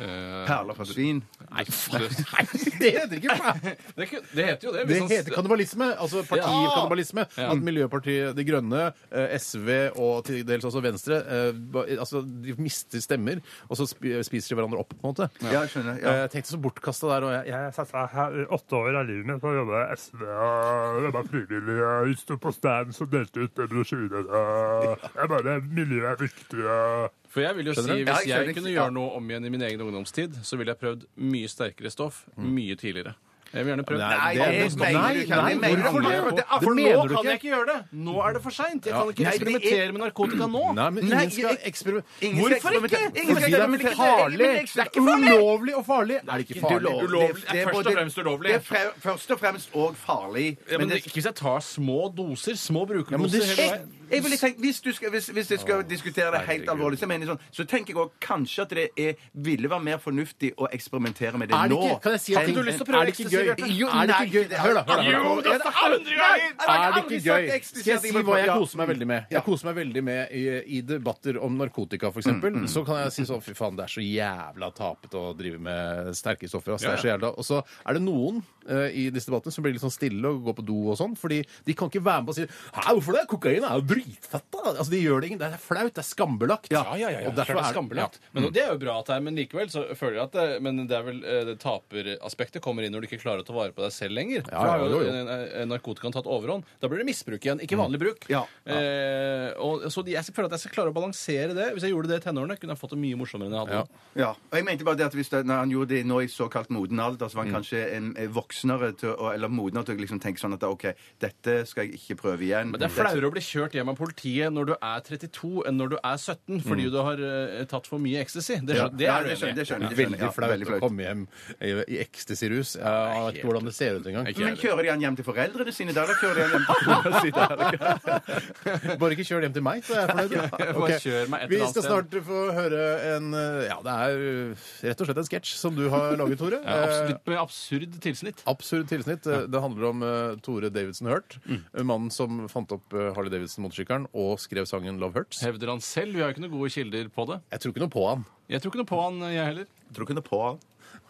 Eh,
Perler fra svin.
Nei, *laughs*
Det heter ikke det!
det, kun- det heter jo det.
Det
hvis han-
heter kannibalisme. Altså partikannibalisme.
Ja.
At Miljøpartiet De Grønne, eh, SV og til dels også Venstre eh, ba- altså, de mister stemmer, og så spi- spiser de hverandre opp, på en måte.
Ja, jeg skjønner. Ja.
Eh, Jeg tenkte så bortkasta der, og jeg, jeg
Jeg satsa her i åtte år av livet mitt på å jobbe i SV. og Jeg var frivillig. Jeg sto på stand som delte ut brosjyrer. og Jeg bare Miljøet er viktig. og-
For jeg vil jo si,
du? Ja,
Hvis
jeg
jeg
skjønner.
kunne
Ja.
gjøre noe om igjen i min egen ungdomstid, så ville jeg prøvd mye sterkere stoff mye tidligere. Jeg vil gjerne prøvd
Nei,
det
Nei,
mener du ikke. Det
nei,
mener du
hvorfor det?
ikke.
Det er- For
Det
nå
mener du
kan
ikke.
jeg ikke gjøre det! Nå er det for seint! Jeg kan ikke
Nei, det er-
eksperimentere med narkotika nå.
Nei, men
Nei,
ingen skal
jeg-
eksperimentere. Hvorfor
ingen skal
ikke?
eksperimentere. Ingen skal
Fordi det er farlig.
eksperimentere. Men det
Det
er ikke
er ulovlig og farlig. Er det ikke farlig?
ulovlig.
Ulovlig. Det er
både-
først og fremst ulovlig.
Det er fre- først og fremst og farlig.
Ja, men
men det-
Ikke hvis jeg tar små doser. Små
men
brukerdoser
det
hele
jeg,
veien.
jeg ville tenkt, hvis, du skal, hvis, hvis jeg skal diskutere det helt alvorlig, så, mener jeg sånn, så tenker jeg også kanskje at det er, ville være mer fornuftig å eksperimentere med det,
Er det
nå.
ikke, kan jeg si at
Tenk-
du lyst til å prøve
er det ikke
ecstasy,
gøy?
Bjarte?
Jo, er det ikke gøy? Hør, da. Hør, da.
Jo, det er hundre ganger!
Er det ikke gøy? Skal jeg si hva jeg koser meg veldig med? Jeg koser meg veldig med i, i debatter om narkotika, f.eks. eksempel Så kan jeg si sånn Fy faen, det er så jævla tapete å drive med sterke stoffer. ass. Det er så jævla Og så er det noen eh, i disse debattene som blir litt sånn stille og går på do og sånn, fordi de kan ikke være med på å si Hæ, hvorfor det? Kokain er jo dritfett, da! Altså, de gjør det ingen Det er flaut. Det er skambelagt.
Ja, ja, ja. ja.
Og derfor
Klart det
er
er skambelagt. Men det er jo bra at det er, men likevel så føler jeg at det, men det er vel eh, det taperaspektet kommer inn når du ikke klarer å ta vare på deg selv lenger.
Ja,
For da
ja,
har
jo,
jo
jo.
eh, eh, narkotikaen tatt overhånd. Da blir det misbruk igjen, ikke vanlig bruk.
Ja.
Eh, og, så de, jeg føler at jeg skal klare å balansere det. Hvis jeg gjorde det i tenårene, kunne jeg fått det mye morsommere enn jeg hadde.
Ja.
nå.
Ja, og jeg mente bare det at hvis det, når han gjorde det nå i såkalt moden alder, så var han
Mm.
kanskje en eh, voksnere til, å- eller modnere til å liksom tenke sånn at OK, dette skal jeg ikke prøve igjen.
Men det er flauere å bli kjørt hjem av politiet når du er 32 enn når du er 17 fordi du har eh, tatt for mye ecstasy. Det,
Ja,
skjønner- det er du
det skjønner-
enig i.
det skjønner jeg.
Veldig
Ja,
flaut
veldig
å
flaut.
komme hjem i, i ecstasy-rus. Jeg vet ikke hvordan det ser ut *laughs* engang.
Men kjører de han hjem til foreldrene sine da, eller kjører de han hjem
*laughs*
til foreldrene sine?
Bare ikke *laughs* kjør hjem til meg, så er jeg fornøyd.
*laughs* bare
Ok.
kjør meg et
Vi
eller annet
skal snart få høre en eh, Ja, det er eh, rett og slett en sketsj som du har laget, Tore.
*laughs* Ja,
Eh,
absolutt, med absurd tilsnitt.
Absurd tilsnitt. Eh, Det handler om eh, Tore Davidson Hurt.
Mm.
eh, Mannen som fant opp eh, Harley Davidson-motorsykkelen og skrev sangen 'Love Hurts'.
Hevder han selv. Vi har jo ikke noen gode kilder på det.
Jeg tror ikke noe på han.
Jeg tror ikke noe på han, jeg heller.
Tror ikke noe på han.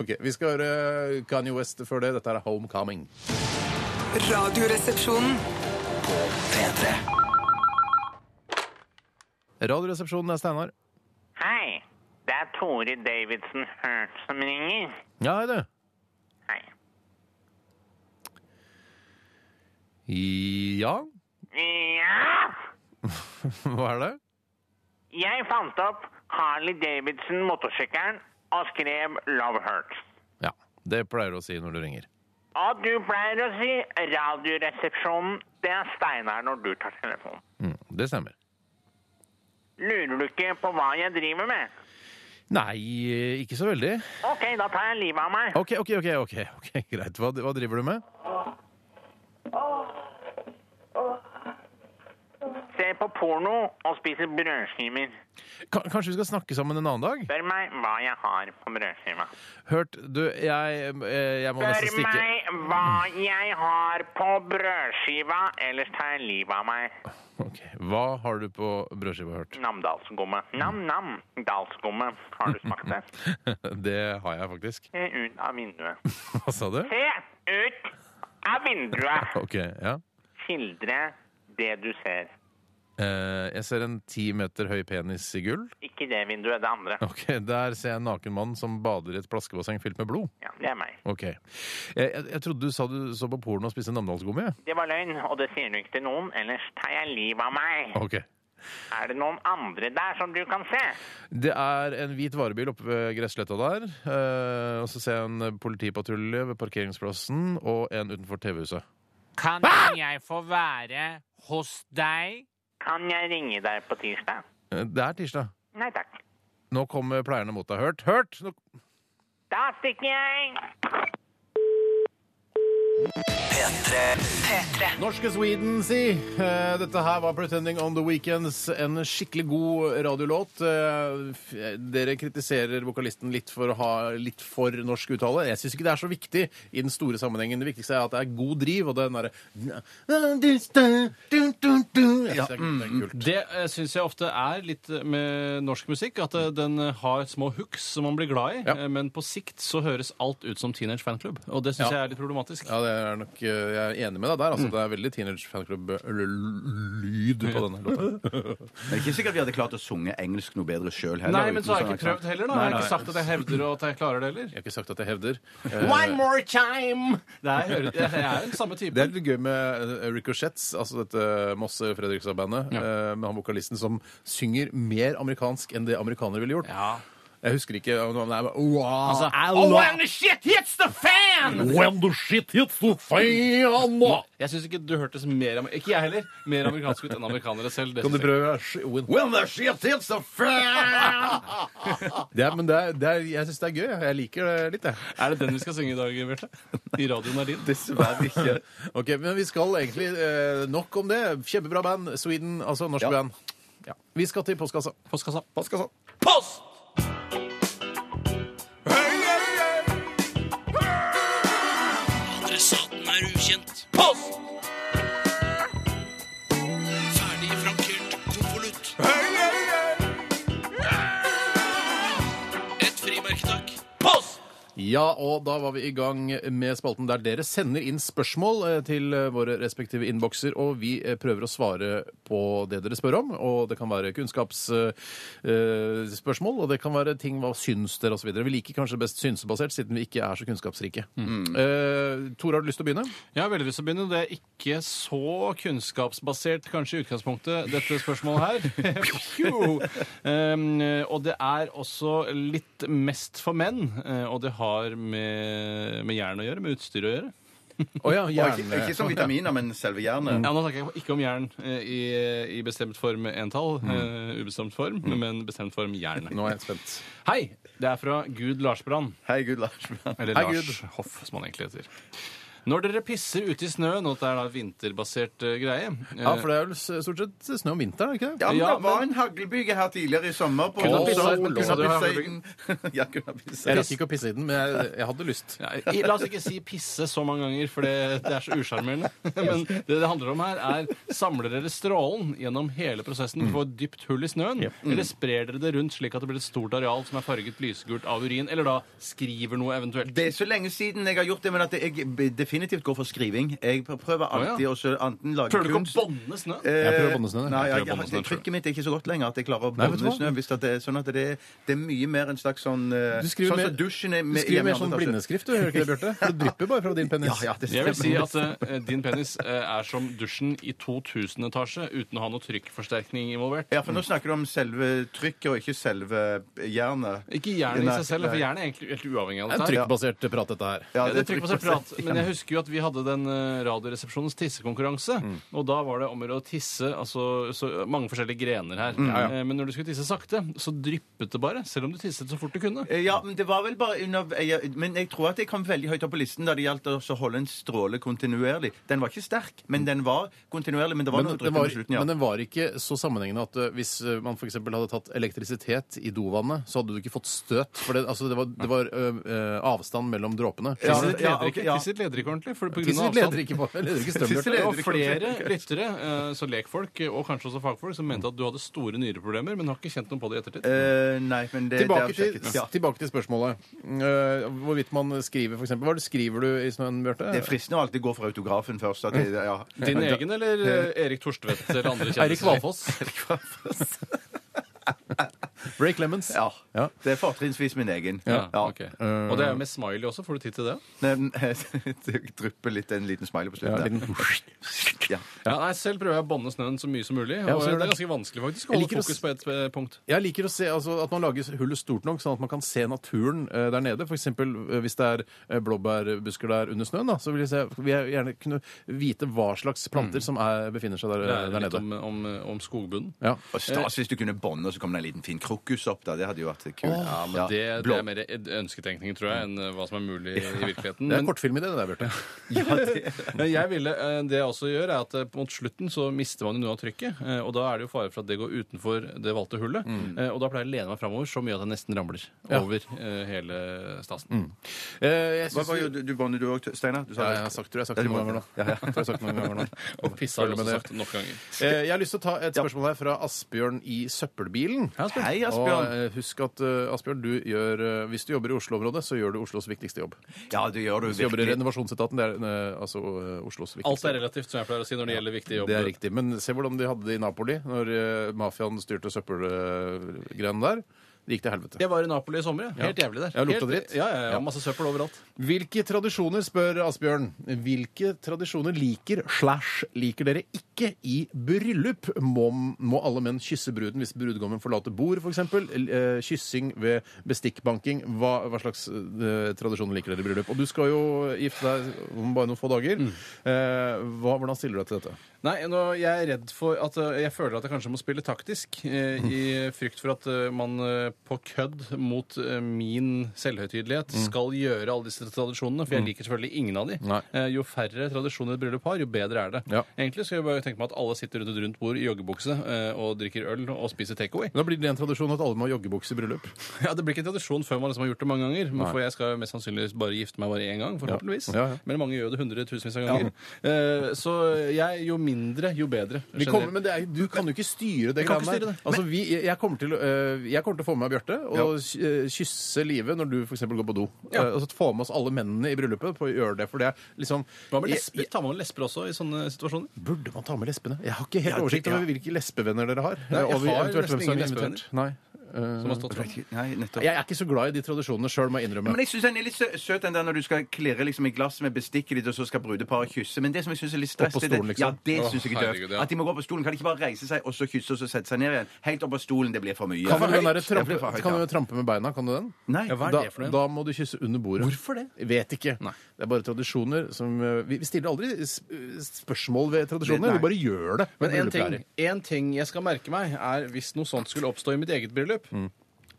Ok, Vi skal høre eh, Kanye West før det. Dette er 'Homecoming'.
Radioresepsjonen.
P3
Radioresepsjonen er Steinar.
Hei, det er Tore Davidson Hurt som ringer.
Ja, hei, du.
Hei.
Ja,
Ja,
*laughs* hva er det?
jeg fant opp Harley Davidson motorsykkelen og skrev Love Hurts.
Ja, Det pleier du å si når du ringer.
Og du pleier å si radioresepsjonen, det er Steinar når du tar telefonen.
Mm, det stemmer.
Lurer du ikke på hva jeg driver med?
Nei, eh, ikke så veldig.
Ok, da tar jeg livet av meg.
Ok, ok, ok, ok, ok, *laughs* greit. Hva, hva driver du med?
Ser på porno og spiser brødskiver.
Ka- Kanskje vi skal snakke sammen en annen dag?
Spør meg hva jeg har på brødskiva.
Hørt, du, jeg, eh, jeg må
Spør
nesten stikke
meg hva jeg har på brødskiva, ellers tar jeg livet av meg.
Ok, Hva har du på brødskiva hørt?
Namdalsgomme. Nam-nam, dalsgomme. Har du smakt det?
*laughs* *laughs* Det har jeg faktisk.
Se ut av vinduet.
*laughs* Hva sa du?
Se ut av vinduet!
Ok, ja.
Skildre det du ser.
Eh, Jeg ser en ti meter høy penis i gull.
Ikke det vinduet, det andre.
Ok, Der ser jeg en naken mann som bader i et flaskebasseng fylt med blod.
Ja, det er meg.
Ok. Jeg, jeg, jeg trodde du sa du så på porno og spiste namdalsgummi. jeg.
Det var løgn, og det sier du ikke til noen, ellers tar jeg livet av meg.
Ok.
Er det noen andre der som du kan se?
Det er en hvit varebil oppe ved gressletta der. eh, og så ser jeg en politipatrulje ved parkeringsplassen og en utenfor TV-huset.
Kan
Ah!
jeg få være hos deg?
Kan jeg ringe deg på tirsdag?
Eh, det er tirsdag.
Nei takk.
Nå kommer pleierne mot deg. Hørt! Hørt! Nå...
Da stikker jeg!
Norske Sweden, si. Eh, Dette her var 'Pretending on the Weekends'. En skikkelig god radiolåt. Eh, f- Dere kritiserer vokalisten litt for å ha litt for norsk uttale. Jeg syns ikke det er så viktig i den store sammenhengen. Det viktigste er at det er god driv, og den derre ja,
Det eh, syns jeg ofte er litt eh, med norsk musikk, at eh, den eh, har små hooks som man blir glad i,
Ja.
eh, men på sikt så høres alt ut som Teenage Fanclub, og det syns
Ja.
jeg er litt problematisk.
Ja, det er nok, eh, jeg er enig med deg
Mm.
der. Altså, Det er veldig Teenage Fanclub-lyd på denne
*laughs*
låta.
Det er ikke sikkert vi hadde klart å sunge engelsk noe bedre sjøl heller.
Nei, men
uten
så har jeg
sånn
ikke
aksent.
prøvd heller, da. Jeg har ikke sagt at jeg hevder og at jeg klarer det heller.
*laughs* Jeg har ikke sagt at jeg hevder. Eh,
One more time! Nei, jeg, hører, jeg, jeg er den samme typen.
Det er litt gøy med eh, Ricochets, altså dette Mosse Fredrikstad-bandet, eh, med han vokalisten som synger mer amerikansk enn det amerikanere ville gjort.
Ja.
Jeg husker ikke om han er wow.
Altså,
Au,
when the shit hits the fan!
When the shit hits the fan!
Jeg syns ikke du hørtes mer amer- Ikke jeg heller. Mer amerikansk ut enn amerikanere selv. Det
Kan du
synes jeg.
prøve sh- when, when the shit hits the fan! det er, men det er, det er, jeg syns det er gøy. Jeg liker det litt, jeg.
Er det den vi skal synge i dag, Bjarte? I radioen er din?
Dessverre ikke.
Ok, Men vi skal egentlig eh, Nok om det. Kjempebra band. Sweden, altså norsk
Ja.
band. Ja. Vi skal til postkassa.
*laughs* Postkassa.
Postkassa.
Post!
Adressaten er ukjent.
Post!
Ferdig frankert konvolutt. Et frimerke, takk.
Post!
Ja, og da var vi i gang med spalten der dere sender inn spørsmål eh, til eh, våre respektive innbokser, og vi eh, prøver å svare på det dere spør om. Og det kan være kunnskapsspørsmål, og det kan være ting hva syns dere, osv. Vi liker kanskje best synsebasert, siden vi ikke er så kunnskapsrike. Eh, Tor, har du lyst til å begynne?
Jeg har veldig lyst til å begynne. Det er ikke så kunnskapsbasert, kanskje, i utgangspunktet, dette spørsmålet
*laughs*
her. Pju! um, og det er også litt mest for menn, eh, og det har med, med jern å gjøre, med utstyr å gjøre.
Å ja,
Og ikke, ikke som vitaminer, men selve jernet.
Ja, Nå snakker jeg ikke om jern eh, i, i bestemt form entall,
Mm.
eh, ubestemt form, men bestemt form jern.
Nå er jeg spent.
Hei! Det er fra Gud Larsbrand.
Hei, gud, Lars.
Eller
Hei,
Lars Hoff, som han egentlig heter. Når dere pisser ute i snøen, og det er da vinterbasert eh, greie eh,
Ja, for det er vel s- stort sett snø om vinteren, er det ikke det?
*laughs* Ja, men
Ja,
det var en haglbyge her tidligere i sommer. På
Kunne
Åh,
pissa-
så-
kunne
kunne
du ha
pissa i
haglbygen?
den. *laughs* Ja, kunne ha pissa i
Jeg
den.
rakk ikke å pisse i den, men jeg, jeg hadde lyst.
Ja, i- La oss ikke si pisse så mange ganger, for det, det er så *laughs* usjarmerende. Men det det handler om her, er samler dere strålen gjennom hele prosessen på et dypt hull i snøen? Eller sprer dere det rundt slik at det blir et stort areal som er farget lysegult av urin? Eller da skriver noe eventuelt?
Det er så lenge siden jeg har gjort det, men at jeg b- definitivt går for skriving. Jeg prøver alltid å så enten lage
Prøver du ikke
kunst
å bånde snø?
Jeg prøver å bonde snø, jeg.
Nei,
Jeg
jeg,
prøver å bonde snø,
det- trykket mitt er ikke så godt lenger at jeg klarer å
Nei, vet du
bonde
hva?
snø. Hvis at det, er sånn at det, det er mye mer en slags sånn eh,
Du skriver
Sånn
mer-
som dusjen er
Du
med-
skriver
hjemme i
mer
andre
sånn
etasje.
blindeskrift, du, gjør du ikke det,
*laughs*
Bjarte? For Det drypper bare fra din
Ja,
penis.
ja, det
Jeg vil si
stemmer.
at eh, din penis eh, er som dusjen i 2000 etasje uten å ha noe trykkforsterkning involvert.
Ja, for nå snakker du om selve trykket og ikke selve jernet.
Ikke jernet i
Nei,
seg selv, for
nei.
jernet er egentlig helt uavhengig av
Det er
dette.
en
her.
trykkbasert prat, dette her.
Ja,
Ja, det trykker på seg prat,
trykker på seg.
men jeg husker jo at vi hadde den eh, Radioresepsjonens tissekonkurranse. Og da var det om å gjøre å tisse altså, så mange forskjellige grener her. Eh, Men når du skulle tisse sakte, så dryppet det bare. Selv om du tisset så fort du kunne.
Eh, Ja, men det var vel bare under jeg- Men jeg tror at jeg kom veldig høyt opp på listen da det gjaldt å så holde en stråle kontinuerlig. Den var ikke sterk, men den var kontinuerlig. Men det var
Men
noe
den,
trykk på
var,
slutten, ja.
men den var ikke så sammenhengende at eh, hvis eh, man f.eks. hadde tatt elektrisitet i dovannet, så hadde du ikke fått støt. For det, altså, det var, det var eh, eh, avstand mellom dråpene.
Ja,
Tisset leder,
ja, ok,
ikke,
ja.
tisset leder ikke ordentlig. For på grunn av
Tisset leder
avstand.
ikke på leder ikke strøm,
Tisset
Bjarte.
Det
leder
var
ikke
flere lyttere, eh, så lekfolk eh, og kanskje også fagfolk, som mente at du hadde store nyreproblemer, men har ikke kjent noe på det i ettertid.
Eh, nei, men det,
Tilbake
det er
til,
sjekket. Ja.
tilbake til spørsmålet. Eh, hvorvidt man skriver, f.eks. Hva er det skriver du i snøen, Bjarte?
Det er fristende å alltid gå for autografen først. At det, ja.
Din
*laughs*
egen eller eh, Erik Torstvedt eller andre kjendiser?
Eirik Valfoss. Ray Clemens.
Ja.
Ja.
Det er fortrinnsvis min egen.
Ja, eh, ok. Og det er jo med smiley også. Får du tid til det?
Men, *laughs* det drypper litt en liten smiley på
Ja,
slutten.
liten- Jeg
Ja.
Ja, nei, Selv prøver jeg å banne snøen så mye som mulig.
Ja,
og
så gjør
det er
det.
ganske vanskelig faktisk å
Jeg
holde
liker å
fokus på et eh, punkt.
liker å se altså, at man lager hullet stort nok, sånn at man kan se naturen eh, der nede. F.eks. hvis det er eh, blåbærbusker der under snøen, da, så vil jeg, se, vil jeg gjerne kunne vite hva slags planter
Mm.
som er, befinner seg der, eh,
Det er
der
litt
nede.
om, om, om skogbunnen.
Ja. Eh.
altså, Og stas hvis du kunne bånde, og så kom det en liten fin krukk krokus opp, da. Det hadde jo vært kult.
Ja, men
Ja,
det, det
blå-
er mer ed- ønskettenkning, tror jeg, enn eh, hva som er mulig i virkeligheten.
Det er
Men-
en kortfilm i det, det der, Bjarte.
Ja, det-
Men jeg ville, eh, det jeg også gjør, er at eh, mot slutten så mister man jo noe av trykket. eh, Og da er det jo fare for at det går utenfor det valgte hullet. Eh, Og da pleier jeg å lene meg framover så mye at jeg nesten ramler over eh, hele stasen.
Eh, Jeg
*laughs*
synes
Hva var jo du, du båndet du òg, Steinar? Du sa
ja,
det.
jeg har sagt det, jeg har sagt
Ja,
det
du
noen
må-
ganger nå. Jeg tror jeg har sagt det noen ganger nå.
*laughs*
Og pissa har
Følg med
jeg også
det.
sagt nok ganger.
Eh, Jeg har lyst til å ta et spørsmål her fra Asbjørn i Søppelbilen.
Hei, Asbjørn.
Og eh, husk at eh, Asbjørn, du gjør, eh, hvis du jobber i Oslo-området, så gjør du Oslos viktigste jobb.
Ja, det gjør du
Hvis du jobber i
virkelig.
renovasjonsetaten, det er eh, altså eh, Oslos viktigste
Alt er relativt, som jeg pleier å si når det gjelder viktige
Det er
jobber.
riktig. Men se hvordan de hadde det i Napoli når eh, mafiaen styrte søppelgreiene der. Det gikk til helvete.
Jeg var i Napoli i sommer. Ja. Helt
Ja.
jævlig der.
Ja, lukta
Helt-
dritt.
Ja, ja,
Ja.
ja, Masse søppel overalt.
Hvilke tradisjoner, spør Asbjørn, hvilke tradisjoner liker slash liker dere ikke i bryllup? Må, må alle menn kysse bruden hvis brudgommen forlater bord, f.eks.? eh, Kyssing ved bestikkbanking. Hva, hva slags eh, tradisjoner liker dere i bryllup? Og du skal jo gifte deg om bare noen få dager. Eh, hva, hvordan stiller du deg til dette?
Nei, nå, jeg er redd for at eh, Jeg føler at jeg kanskje må spille taktisk. Eh, I frykt for at eh, man eh, på kødd mot eh, min selvhøytidelighet skal gjøre alle disse tradisjonene. For jeg liker selvfølgelig ingen av de.
Nei.
Eh, jo færre tradisjoner et bryllup har, jo bedre er det.
Ja.
Egentlig skal jeg bare tenke meg at alle sitter rundt et rundt bord i joggebukse eh, og drikker øl og spiser takeaway.
Da blir det en tradisjon at alle må ha joggebukse i bryllup.
Ja, det blir ikke en tradisjon før man liksom har gjort det mange ganger. Men
Nei.
for jeg skal mest sannsynligvis bare gifte meg bare én gang, forhåpentligvis.
Ja, ja.
Men mange gjør jo det hundretusenvis av ganger. Eh, så jeg, jo mindre, jo bedre.
Vi kommer, men det er, du kan jo ikke styre det.
Jeg kan
greiene
ikke
der.
styre det.
Altså, vi, jeg, kommer til, å, øh, jeg kommer til å få med meg Bjarte og ky- øh, kysse livet når du for eksempel går på do.
Ja.
Eh, og så få med oss alle mennene i bryllupet på å gjøre det. For det er liksom
Hva med
Jeg-
lesber? Tar man lesber også i sånne situasjoner?
Burde man ta med lesbene? Jeg har ikke helt
Ja, det-
oversikt over
ja.
hvilke lesbevenner dere har.
Nei, jeg
og vi-
har
eventuelt
nesten
hvem som er
ingen
invitert. Nei.
Som har stått fram?
Nei, nettopp.
Jeg er ikke så glad i de tradisjonene sjøl, må jeg
Men
innrømme.
jeg syns den er litt sø- søt, den der når du skal klirre liksom, i glasset med bestikket ditt, og så skal brudeparet kysse. Men det som jeg syns er litt stress
Opp på
det er det-
stolen, liksom.
Ja, det
Åh,
syns jeg er
herregud, ja.
døvt. At de må gå på stolen. Kan de ikke bare reise seg, og så kysse, og så sette seg ned igjen? Helt opp på stolen. Det blir for mye.
Kan du, den
Ja,
derre
det blir for
trampe,
høyt,
kan
ja.
du trampe med beina? Kan du den?
Nei.
Ja, hva er
da,
det for noe?
da må du kysse under bordet. Hvorfor det? Vet ikke. Det er bare tradisjoner som eh, Vi vi stiller aldri s- eh, spørsmål ved tradisjoner,
Nei.
vi bare gjør det.
Men
Når
en
bryllupet er
ting,
i.
en ting jeg skal merke meg, er hvis noe sånt skulle oppstå i mitt eget bryllup,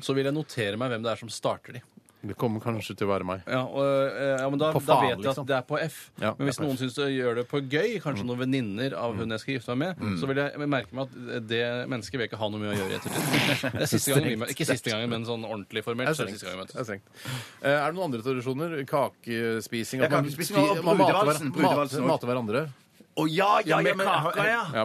så vil jeg notere meg hvem det er som starter de.
Det kommer kanskje til å være meg.
Ja, og, eh, ja, men da,
På
da
faen,
vet jeg
liksom.
at det er på F.
Ja,
men hvis
det er på
noen
F.
syns du gjør det på gøy, kanskje noen venninner av hun jeg skal gifte meg med, så vil jeg merke meg at det mennesket vil jeg ikke ha noe med å gjøre i ettertid. Det er siste gangen vi mø- Ikke siste gangen, men sånn ordentlig formelt. Så er det siste gangen vi
Det er
møtes.
strengt. Eh, Er det noen andre tradisjoner? Kakespising?
Ja,
at man
kakespising
spi-
og
man mater
brudevalsen,
hver- mat-
brudevalsen også.
Mater hverandre.
Å ja, ja, ja, men,
Ja,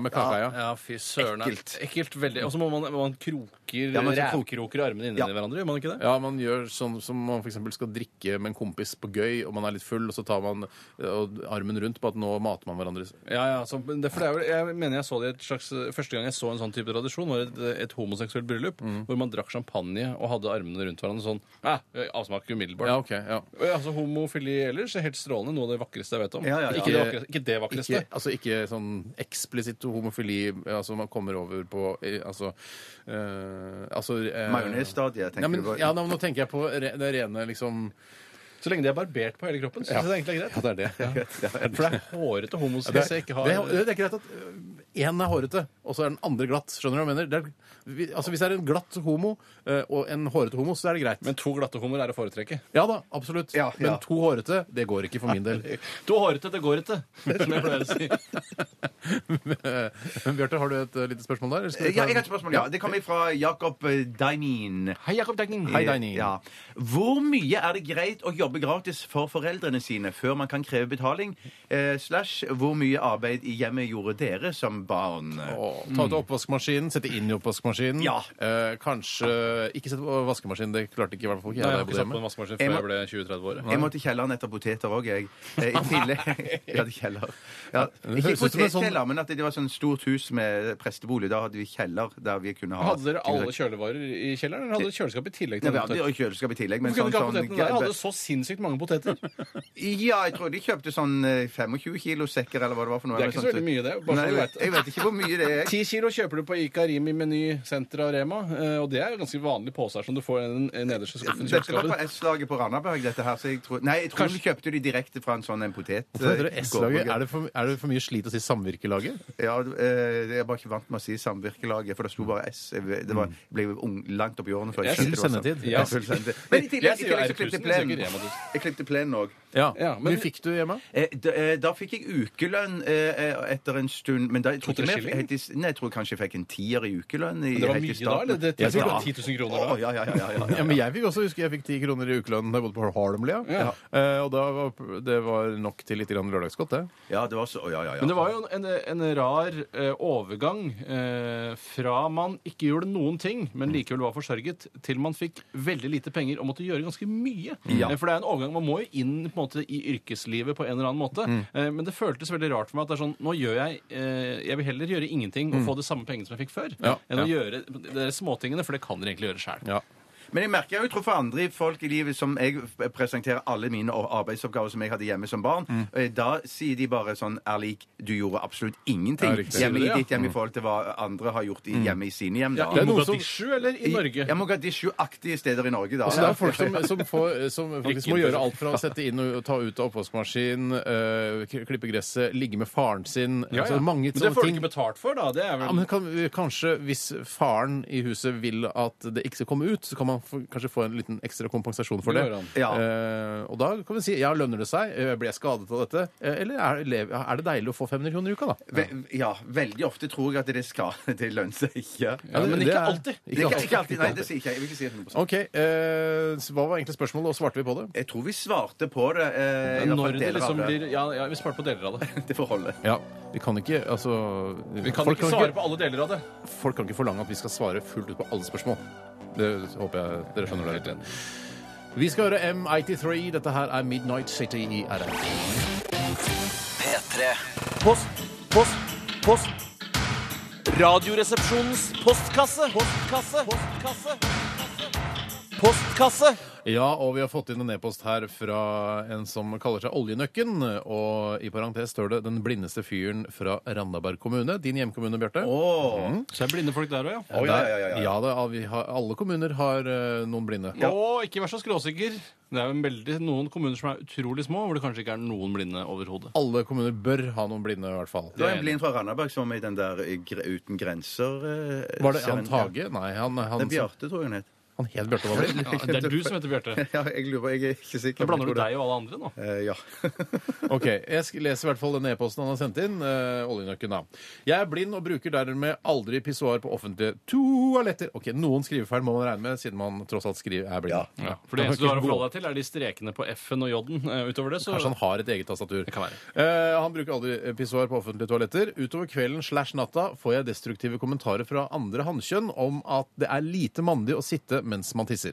med kaka, ja.
Ja, fy søren. Ekkelt.
Ekkelt.
Ekkelt veldig. Og så må man, man kroker
Ja, man skal kroke.
rævkroker armene inni
Ja.
hverandre, gjør man ikke det?
Ja, man gjør sånn som man f.eks. skal drikke med en kompis på gøy, og man er litt full, og så tar man eh, og armen rundt på at nå mater man hverandre.
Ja, ja, så, men det, for det er, vel- jeg mener jeg så det i et slags, Første gang jeg så en sånn type tradisjon, var et, et homoseksuelt bryllup hvor man drakk champagne og hadde armene rundt hverandre sånn ah, Avsmak umiddelbart.
Ja, ok, ja.
Eh, Altså Homofili ellers er helt strålende. Noe av det vakreste jeg vet om.
Ja, ja, ja.
Ikke, det vakreste, ikke det vakreste.
Ikke, altså ikke sånn eksplisitt homofili, altså man kommer over på eh, Altså, eh, altså eh,
Majonesstadiet, tenker
Nei, men,
du på?
ja, nei, men nå tenker jeg på re, det rene, liksom
Så lenge de er barbert på hele kroppen, syns jeg det egentlig er greit.
Ja, det er det.
For det er hårete homos
Det,
hvis jeg ikke har
det, det er greit at én er hårete, og så er den andre glatt. Skjønner du hva jeg mener? Det er, vi, altså Hvis det er en glatt homo eh, og en hårete homo, så er det greit.
Men to glatte homoer er å foretrekke.
ja da, absolutt.
Ja, ja.
Men to hårete, det går ikke for
*laughs*
min del.
To hårete, det går ikke, som jeg pleier å si.
Men Bjarte, har du et eh, lite spørsmål der? eller skal vi ta
Ja, jeg har
en-
et spørsmål. Ja. Det kommer fra Jakob eh, Dainin.
Hei, Jakob Degning.
Hei, Dainin.
Ja. Hvor mye er det greit å jobbe gratis for foreldrene sine før man kan kreve betaling? Eh, slash hvor mye arbeid i hjemmet gjorde dere som barn?
Å, Ta ut oppvaskmaskinen, sette inn i oppvaskmaskinen.
Ja.
Eh, kanskje ikke sette på vaskemaskinen. Det klarte ikke i hvert fall ikke jeg. da
Nei,
jeg
jeg har ikke
bodde
satt på
hjemme.
en vaskemaskin
Jeg
før
må-
jeg ble 20-30 år.
Jeg må til kjelleren etter poteter òg, jeg.
*laughs*
Eh, I tillegg. *laughs* Jeg hadde kjeller. Ja.
Det
Ikke
høres ut som en sånn-
potetkjeller, men at det var sånn stort hus med prestebolig. Da hadde vi kjeller der vi kunne ha
Hadde dere alle kjølevarer i kjelleren, eller hadde dere kjøleskap i tillegg?
Nei,
til
vi hadde
poteter?
jo kjøleskap i tillegg, men
Hvorfor kunne
sånn,
ikke ha
sånn
potetene der? Jeg hadde så sinnssykt mange poteter.
Ja, jeg tror de kjøpte sånn eh, 25 kilo sekker, eller hva det var for noe.
Det er ikke så veldig mye, det. Bare
Nei,
så
jeg,
du
vet,
vet.
jeg vet ikke hvor mye det er.
Ti kilo kjøper du på Ica, Rimi, Meny, Sentra og Rema. eh, Og det er jo ganske vanlige poser som du får i den eh, nederste skuffen i
Dette var på
kjøleskapet.
S-laget på Randaberg. dette her, så jeg tror... Nei, jeg tror vi kjøpte de direkte fra en sånn en potet...
Hvorfor heter det S-laget? Er, det for- er det for mye slit å si Samvirkelaget?
Ja, eh, jeg er bare ikke vant med å si Samvirkelaget, for det sto bare S. Jeg vet- Det var, jeg ble jo ung, langt opp i årene før jeg
Mm. Jeg
skjønte det
synes
var sånn.
sendetid.
Ja, full sendetid. Men i tillegg,
Jeg
i
sier jo
tillegg så
R1000,
klippte
jeg
jeg
sier ikke
plenen.
Rema 1000.
Jeg klippte plenen òg.
Ja.
Ja,
men
men-
fikk du hjemme?
Eh, Da, eh, da fikk jeg ukelønn eh, eh, etter en stund. Men da, jeg, tror
To-tre
ikke mer-
skilling?
helt i s- nei, jeg tror kanskje jeg fikk en tier i ukelønn. I,
Men det var
helt i
mye da,
starten.
eller? Det-
Ja,
jeg tror det var
da.
10 000 kroner da.
Å, ja, ja, ja, ja, ja, ja.
Ja, men jeg fikk også, husker jeg fikk ti kroner i ukelønnen da jeg bodde på Harlemlia.
Ja.
Eh, og da var, det var nok til litt grann lørdagsgodt, det.
Ja, det var så, å, ja, ja, ja.
Men det var jo en, en rar eh, overgang eh, fra man ikke gjorde noen ting, men likevel var forsørget, til man fikk veldig lite penger og måtte gjøre ganske mye.
Ja.
Eh, For det er en overgang. Man må jo inn på en måte, i yrkeslivet på en eller annen måte. Eh, men det føltes veldig rart for meg at det er sånn Nå gjør jeg eh, Jeg vil heller gjøre ingenting og få de samme pengene som jeg fikk før,
Ja.
enn å gjøre de der småtingene, for det kan dere egentlig gjøre sjæl.
Ja.
Men jeg merker jeg har jo truffet andre folk i livet som jeg presenterer alle mine arbeidsoppgaver som jeg hadde hjemme som barn.
Mm.
Eh, Da sier de bare sånn Erlik, du gjorde absolutt
Ja,
ingenting
riktig.
hjemme
Sier du
i
det,
ditt hjem i forhold til hva andre har gjort i, hjemme i sine hjem. Da.
I
det er noe som-
Mogadishu eller i Norge?
Ja, Mogadishu-aktige steder i Norge, da.
Så det er folk som, som, får, *laughs* som faktisk må
Ikke
gjøre alt fra å sette inn og ta ut av oppvaskmaskin, eh, k- klippe gresset, ligge med faren sin Altså, mange
men det
sånne
får du
ting.
ikke betalt for, da. Det
Ja,
er vel
men kan, kanskje hvis faren i huset vil at det ikke skal komme ut, så kan man få, kanskje få en liten ekstra kompensasjon for det.
Det går an.
Ja.
Eh, og da kan vi si ja, lønner det seg? Eh, Blir jeg skadet av dette? Eh, Eller er, lev- er det deilig å få 500 kroner i uka, da?
Ve ja, veldig ofte tror jeg at det skal *laughs* Det lønner seg ikke.
Ja,
men
det-
ikke
det er-
alltid.
Ikke
Det kan
alltid.
ikke alltid, nei, det sier ikke jeg. Jeg vil ikke si det 100
OK. eh, så hva var egentlig spørsmålet, og svarte vi på det?
Jeg tror vi svarte på det. Eh, i hvert fall
Når det
deler av
liksom
det.
blir Ja, ja vi sparte på deler av det.
*laughs* Det får holde.
Ja, vi kan ikke altså
Vi kan
folk,
ikke svare på alle deler av det.
folk kan ikke forlange at vi skal svare fullt ut på alle spørsmål. Det håper jeg dere skjønner. det litt. Vi skal høre M83. Dette her er Midnight City i RR.
P3
Post, post, post. Radioresepsjonens postkasse. Postkasse. Postkasse. Postkasse.
Ja, og vi har fått inn en e-post her fra en som kaller seg Oljenøkken. Og i parentes står det 'Den blindeste fyren fra Randaberg kommune'. Din hjemkommune, Bjarte.
Åh.
Så er blinde folk der òg, ja.
Der-
ja, ja, ja, ja.
ja da, vi har, alle kommuner har eh, noen blinde.
Og ikke vær så skråsikker. Det er jo en veldig, noen kommuner som er utrolig små, hvor det kanskje ikke er noen blinde overhodet.
Alle kommuner bør ha noen blinde, i hvert fall.
Det var en blind fra Randaberg som var med i den der eh, Gre- Uten grenser eh,
Var det
serien.
han Tage? Nei, han,
Ja. Det
han,
er Bjarte, tror jeg hun het.
han het Bjarte var blind.
Ja, det er du som heter Bjarte.
*laughs* Ja, jeg lurer, jeg er ikke sikker.
Da blander
men jeg
du
tror det.
deg og alle andre nå.
Eh, ja.
Ok, Jeg sk- leser i hvert fall den e-posten han har sendt inn. eh, oljenøkken da. Jeg er blind og bruker dermed aldri pissoar på offentlige toaletter. Ok, Noen skrivefeil må man regne med, siden man tross alt skriver er blind.
Ja, for det eneste du har å forholde deg til, er de strekene på F-en og J-en. Eh, Utover det, så
Kanskje han har et eget tastatur.
Det kan være.
Eh, han bruker aldri pissoar på offentlige toaletter. Utover kvelden slash natta får jeg destruktive kommentarer fra andre hannkjønn om at det er lite mandig å sitte mens man tisser.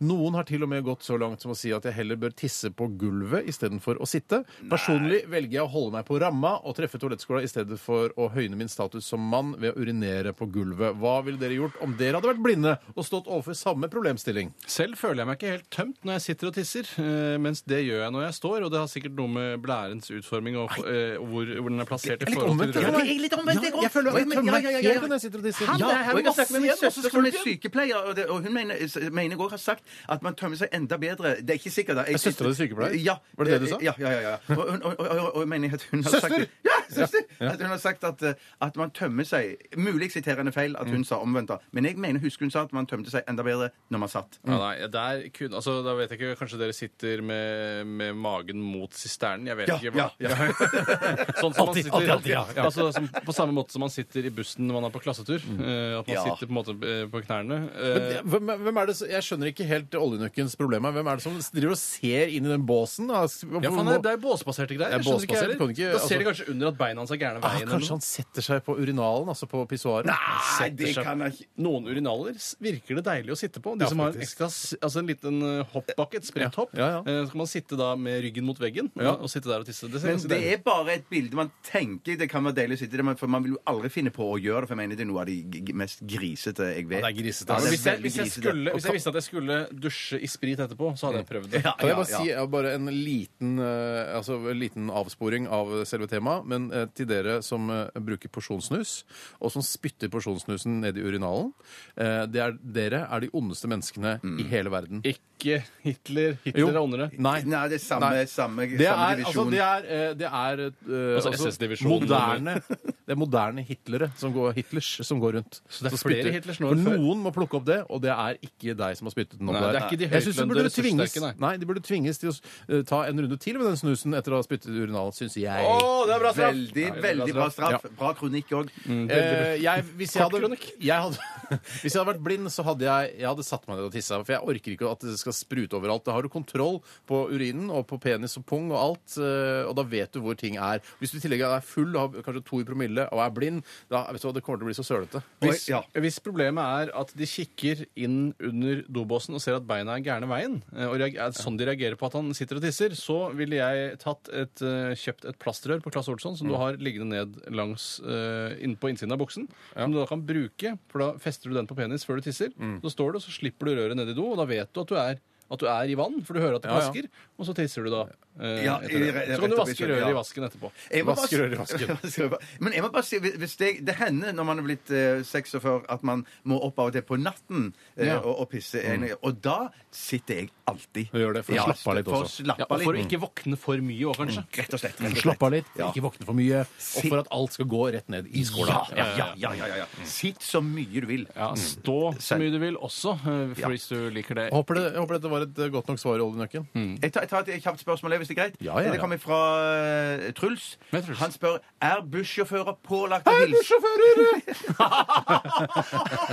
Noen har til og med gått så langt som å si at jeg heller bør tisse på gulvet istedenfor å sitte. Personlig velger jeg å holde meg på ramma og treffe toalettskåla i stedet for å høyne min status som mann ved å urinere på gulvet. Hva ville dere gjort om dere hadde vært blinde og stått overfor samme problemstilling?
Selv føler jeg meg ikke helt tømt når jeg sitter og tisser, eh, mens det gjør jeg når jeg står. Og det har sikkert noe med blærens utforming og eh, og hvor, hvor den er plassert i forhold til
Ja, det er litt omvendt, jeg
jeg føler at jeg
Men-
tømmer
ja,
meg
ja, ja,
helt
ja, ja.
når jeg sitter og tisser.
Ja,
det er
og jeg har
masse
snakket med min
igjen, og så
søster som er
skulker.
sykepleier, og, det, og hun mener, s- mener jeg også har sagt at man tømmer seg enda bedre. Det er ikke sikkert. da. Jeg-
Er søstera di sykepleier?
Ja.
Var det det du sa?
Ja, ja, ja. ja. Og, hun- og, og, og, og jeg mener at hun har
Søster?
sagt Ja, søster! At hun har sagt at, eh, at man tømmer seg Mulig siterende feil at
Mm.
hun sa omvendt, da. Men jeg mener, husker hun sa at man tømte seg enda bedre når man satt.
Ja, nei, der kunne, altså, da vet jeg ikke, Kanskje dere sitter med, med magen mot sisternen? Jeg vet
Ja,
ikke. hva-
ja,
sånn som man
Alltid,
sitter,
alltid, alltid, ja, ja.
Altså, som, på samme måte som man sitter i bussen når man er på klassetur. eh, at man
Ja.
sitter på, en måte, eh, på knærne. eh,
Hvem, hvem er det, som- jeg skjønner ikke helt oljenøkkens problem her. Hvem er det som driver og ser inn i den båsen? da?
ja, faen, det er- det er båsbaserte greier.
Det er
jeg skjønner ikke
båsbasert,
heller.
kan ikke-
da ser de
altså-
kanskje under at beina hans er gærne
Ah,
veien. eller
kanskje
noe.
han setter seg på urinalen, altså på pissoaret?
Nei, det
seg-
kan jeg ikke.
Noen urinaler s- virker det deilig å sitte på. De
Ja,
som har en,
faktisk.
ekstra, s- altså en liten eh, hoppbakke, et spredt hopp,
Ja, ja.
eh, så kan man sitte da med ryggen mot veggen
Ja.
og sitte der og tisse. Det ser
Men
ganske
det
deilig ut.
er bare et bilde man tenker det kan være deilig å sitte i det, men for man vil jo aldri finne på å gjøre det, for jeg mener det er noe av de g- mest grisete jeg vet.
Ja, det er grisete,
Ja,
altså.
det er
Hvis jeg,
veldig
hvis jeg jeg, skulle, hvis jeg visste at jeg skulle dusje i sprit etterpå, så hadde jeg prøvd det.
Kan jeg
Ja,
bare si eh, bare en liten, eh, altså, en liten avsporing av selve temaet, men eh, til dere som eh, bruker porsjonssnus, og som spytter porsjonssnusen ned i urinalen eh, det er, Dere er de ondeste menneskene
Mm.
i hele verden.
Ikke Hitler. Hitler er ondere.
Nei.
Nei, det er samme,
Nei.
samme,
Det er,
samme
altså,
divisjon.
det er, eh, det er eh,
Altså SS-divisjon.
moderne, det er moderne hitlere som går, Hitlers som går rundt.
Så det er
Som
flere
spytter.
Hitlers nå
For
enn før.
Noen må plukke opp det, og det er ikke deg som har spyttet den opp
Nei,
der.
det er ikke de
Jeg synes
høytlønte
burde tvinges,
ressurssterke,
nei, de burde tvinges til å eh, ta en runde til med den snusen etter å ha spyttet i urinalen, syns jeg.
det er bra
Veldig, veldig bra straff. Bra kronikk òg.
Eh, jeg, hvis, jeg
Kort
hadde,
kronikk.
jeg hadde, *laughs* hvis jeg hadde vært blind, så hadde jeg, jeg hadde satt meg ned og tissa. For jeg orker ikke at det skal sprute overalt. Da har du kontroll på urinen og på penis og pung og alt, eh, og da vet du hvor ting er. Hvis du i tillegg er full, har kanskje to i promille og er blind, da vet du hva, det kommer til å bli så sølete.
Hvis,
Ja.
hvis problemet er at de kikker inn under dobåsen og ser at beina er gærne veien, eh, og reager, er det sånn de reagerer på at han sitter og tisser, så ville jeg tatt et, eh, kjøpt et plastrør på Claes Olsson
Mm.
som du har liggende ned langs eh, inn på innsiden av buksen, som du da kan bruke, for da fester du den på penis før du tisser.
Mm.
Så står du, og så slipper du røret ned i do, og da vet du at du er at du er i vann, for du hører at det
Ja, ja.
vasker, og så tisser du da. eh,
Ja,
etter det.
i- i-
så kan du
rett og
vaske
slett,
røret
ja.
i vasken etterpå.
Jeg må bare si-
Vaskerør i vasken.
Skal *laughs* jeg bare- Men jeg må bare si, hvis- hvis det, det hender når man er blitt eh, 46 at man må opp av og til på natten eh,
Ja. Mm.
og, og pisse. en- Og da sitter jeg alltid.
Du gjør det for å slappe av litt
for å
også.
slappe
Ja, og
litt. Mm,
for å ikke våkne for mye òg, kanskje.
Rett og slett. Rett og slett.
Slapp av litt,
Ja.
ikke våkne for mye, og for at alt skal gå rett ned i skåla.
Ja, ja, ja, ja, ja, ja, ja. Sitt så mye du vil.
Ja, stå så mye du vil også, eh, for hvis du liker det.
Håper, det, jeg håper dette var et eh, godt nok svar i oljenøkken.
Jeg tar, jeg tar et kjapt spørsmål, hvis det er greit.
Ja, ja, ja.
Det kommer fra eh, Truls.
Med Truls.
Han spør er bussjåfører pålagt å hilse. *laughs*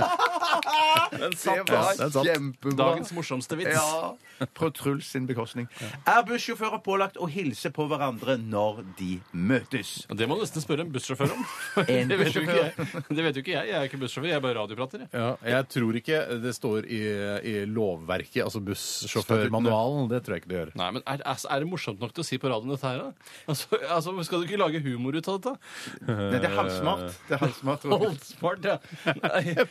Den
Det
Ja, det er sant.
var kjempebra.
Dagens morsomste vits.
Ja, *laughs* På Truls sin bekostning. Er bussjåfører pålagt å hilse på hverandre når de møtes?
Og Det må du nesten spørre en bussjåfør
*laughs*
om.
En
det, vet jo ikke
bussjåfør.
jeg. det vet jo ikke jeg. Jeg er ikke bussjåfør, jeg er bare radioprater. jeg.
Ja, jeg tror ikke det står i, i lovverket, altså bussjåførmanualen. Det tror jeg ikke det gjør.
Nei, men er, altså, er det morsomt nok til å si på radioen dette her, da? Altså, altså, skal du ikke lage humor ut av dette?
Nei, det er halvsmart. Det
*laughs*
er halvsmart.
Holdsmart, ja. *laughs* Nei.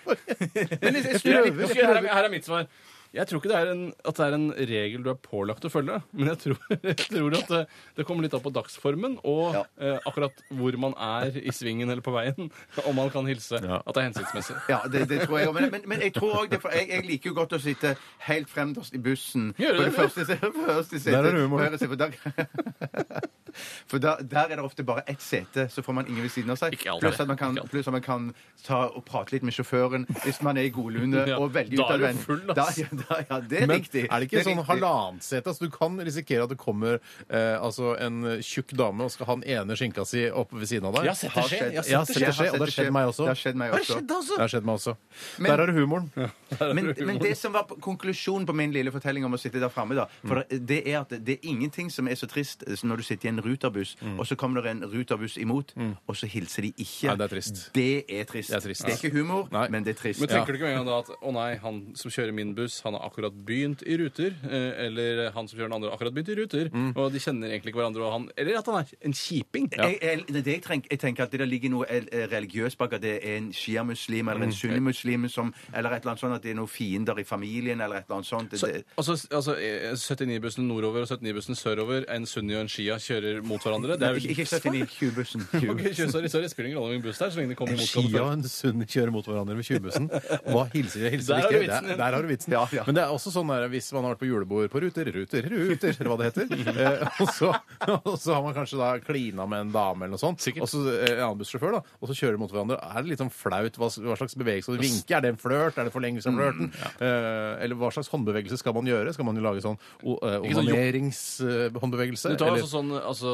Men jeg- jeg
Jeg,
prøver.
ok, her, er, her er mitt svar. Jeg tror ikke det er en, at det er en regel du er pålagt å følge, men jeg tror, *laughs* jeg tror at det, det kommer litt an på dagsformen og
Ja.
eh, akkurat hvor man er i svingen eller på veien, om man kan hilse.
Ja.
At det er hensiktsmessig.
Ja, det, det tror jeg òg. Men, men, men jeg tror også det, for jeg, jeg liker jo godt å sitte helt fremst i bussen.
Gjør du
For
det?
første, for første sete,
Der er det humor.
på høyre side, for der- For da, *laughs* der er det ofte bare ett sete, så får man ingen ved siden av seg.
Ikke alltid.
Pluss at man kan,
Ikke alltid.
pluss at man kan ta og prate litt med sjåføren hvis man er i godlune
*laughs* Ja,
og veldig
da er du
utadvendt.
full,
da,
ass.
ja, da, ja, det er
Men
riktig.
er det ikke
er
sånn
riktig.
halvannet sete? Altså, du kan risikere at det kommer eh, altså, en tjukk dame og skal ha den ene skinka si oppe ved siden av deg.
Jeg har sett det skje. Jeg har sett
Jeg har sett
det
det skje,
Jeg har
og det har skjedd meg også.
Det har skjedd meg også.
Det har skjedd meg også.
Men-
Der er det humoren.
Men, men det som var på- konklusjonen på min lille fortelling om å sitte der framme, da, for det er at det er ingenting som er så trist eh, som når du sitter i en ruterbuss, og så kommer det en ruterbuss imot, og så hilser de ikke.
Nei, det er trist.
Det er trist.
Det er trist.
ikke humor,
Nei.
men det er trist.
Men tenker du ikke med en gang da at å nei, han som kjører min buss, han har akkurat begynt i ruter, eh, eller han som kjører den andre, har akkurat begynt i ruter, og de kjenner egentlig ikke hverandre, og han, eller at han er en kjiping.
Jeg, jeg, det jeg, tenker, jeg tenker at det der ligger noe el- eh, religiøst bak at det er en sjiamuslim eller en sunnimuslim som Eller et eller annet sånt at det er noen fiender i familien eller et eller annet sånt.
Så,
Det-
altså, altså eh, 79-bussen nordover og 79-bussen sørover, en sunni og en shia kjører mot hverandre. Det er vel
Ikke, ikke 79, 20-bussen.
Ok, kjø- sorry, sorry, spiller ingen rolle om en buss der, så lenge det kommer
En
mot
Skia og
hverandre.
en Sunni kjører mot hverandre med 20-bussen. Hva hilser de? Hilser
Der
de
har du
ikke?
vitsen
Der,
din.
der har du vitsen.
Ja, ja.
Men det er også sånn der, hvis man har vært på julebord på Ruter, Ruter, Ruter, eller hva det heter, eh, og, så, og så har man kanskje da klina med en dame eller noe sånt,
Sikkert.
og så eh, en annen bussjåfør, da, og så kjører de mot hverandre. Er det litt sånn flaut? Hva, hva slags bevegelse skal du vinke? Er det en flørt? Er det forlengelse
Mm,
av flørten? Eh, eller hva slags håndbevegelse skal man gjøre? Skal man jo lage sånn o- eh,
Ikke sånn jo-
onaneringshåndbevegelse?
Du tar
eller-
altså sånn altså,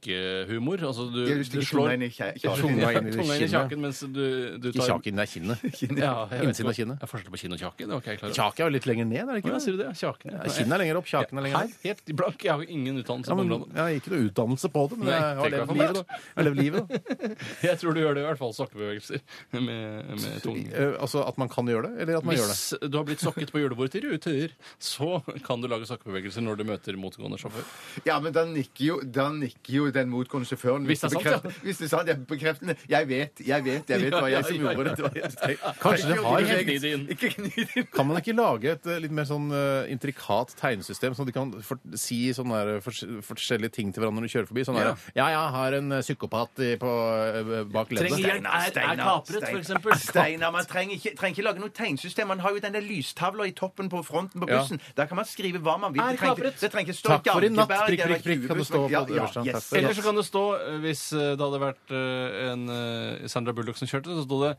sokkehumor. Altså, du,
Ja, du
du *laughs*
stikker tunga
slår
inn i kje- kjaken.
tunga
Tunga inn i
inn i
kinnet.
kjaken mens du, du
Ikke
tar
kjaken, det er
*laughs*
kinnet.
Ja, jeg vet
Innsiden
ikke.
av kinnet.
Det er forskjell på kinn og kjake. Det var ikke jeg klar over.
Kjaken er jo litt lenger ned, er det ikke?
Ja,
det?
sier du det? Kjaken.
Ja, Kinnet er lenger opp, kjaken er lenger ned.
Helt, helt blank. Jeg har jo ingen utdannelse
Ja,
på
men,
området.
jeg har ikke noe utdannelse på det, men
Nei,
jeg har levd
tenk hva
livet,
for
da. Jeg har levd
*laughs*
livet, da.
Jeg tror du gjør det i hvert fall sokkebevegelser med, med tung.
Eh, altså at man kan gjøre det, eller at man gjør det.
Hvis du har blitt sokket på julebord til ruter, så kan du lage sokkebevegelser når du møter motgående sjåfør.
Ja, men da nikker jo, da nikker jo mot den motgående
Hvis det er sant, ja.
Hvis det er sant, ja. Bekreftende. Jeg vet, jeg vet, jeg vet. Det var jeg som
Ja, ja, ja,
gjorde det. det. var jeg som-
Kanskje det har
Ikke kni det inn.
Ikke kni det inn.
Kan man ikke lage et eh, litt mer sånn eh, intrikat tegnesystem, sånn at de kan for si sånne der, eh, fors forskjellige ting til hverandre når de kjører forbi? Sånn der, ja, jeg har en eh, psykopat i, på, eh, bak
Trenger
leddet.
hjelp. Er- er kapret, for eksempel?
Steinar, man trenger ikke, trenger ikke lage noe tegnesystem. Man har jo den der lystavla i toppen på fronten på
Ja.
bussen. Der kan man skrive hva man vil.
Er
Det trenger, ikke-
kapret.
det trenger ikke stå
Takk for i natt,
Jankeberg
prikk,
eller
prikk, prikk, kan det
Kubus,
stå på
men- ja, ja,
øverste.
yes.
Eller så kan det stå, eh, hvis eh, det hadde vært eh, en eh, Sandra Bullock som kjørte, så sto det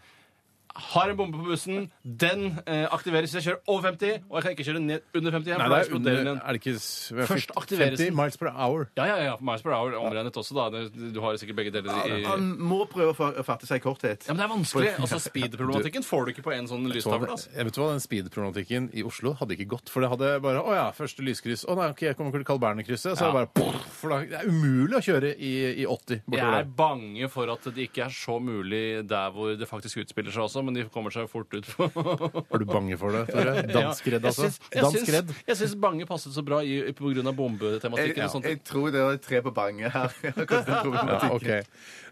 har en bombe på bussen. Den eh, aktiveres hvis jeg kjører over 50. Og jeg kan ikke kjøre ned under
Nei, det
50. for da
er under,
eksploderer den.
er det ikke s-
Først
50
aktiveres den.
miles per hour.
Ja, ja, ja. Miles per hour omregnet også, da. Det- Du har sikkert begge deler i
Han må prøve å fa- fatte seg i korthet.
Ja, men det er vanskelig. Altså, Speed-problematikken får du ikke på en sånn
Så,
lystavle. Altså.
jeg vet du hva, Den speed-problematikken i Oslo hadde ikke gått. For det hadde bare Å ja, første lyskryss. Å nei, ok, jeg kommer til Carl Berner-krysset. Så er det bare For da, Det er umulig å kjøre i, i 80
Jeg
bortover
er
der.
bange for at det ikke er så mulig der hvor det faktisk utspiller seg også, men de kommer seg fort ut på
Er du bange for det,
*laughs*
Tore? Danskredd, altså?
Jeg
Danskredd.
syns, jeg syns bange passet så bra i, i, på grunn av bombetematikken. og sånt.
Jeg tror det er tre på bange her.
*laughs*
Ja, OK.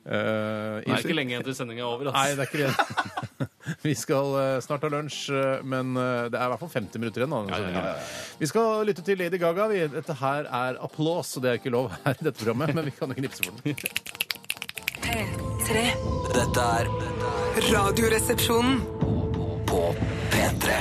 Eh,
Det er ikke lenge igjen til sendinga er over. ass.
Nei, det er ikke det. *laughs* Vi skal eh, snart ha lunsj, eh, men eh, det er i hvert fall 50 minutter igjen. Da, denne sendingen. Vi skal lytte til Lady Gaga. Vi, dette her er applaus, og det er ikke lov her i dette programmet, men vi kan jo knipse for
*laughs*
den.
P3.
Dette er
Radioresepsjonen.
på P3.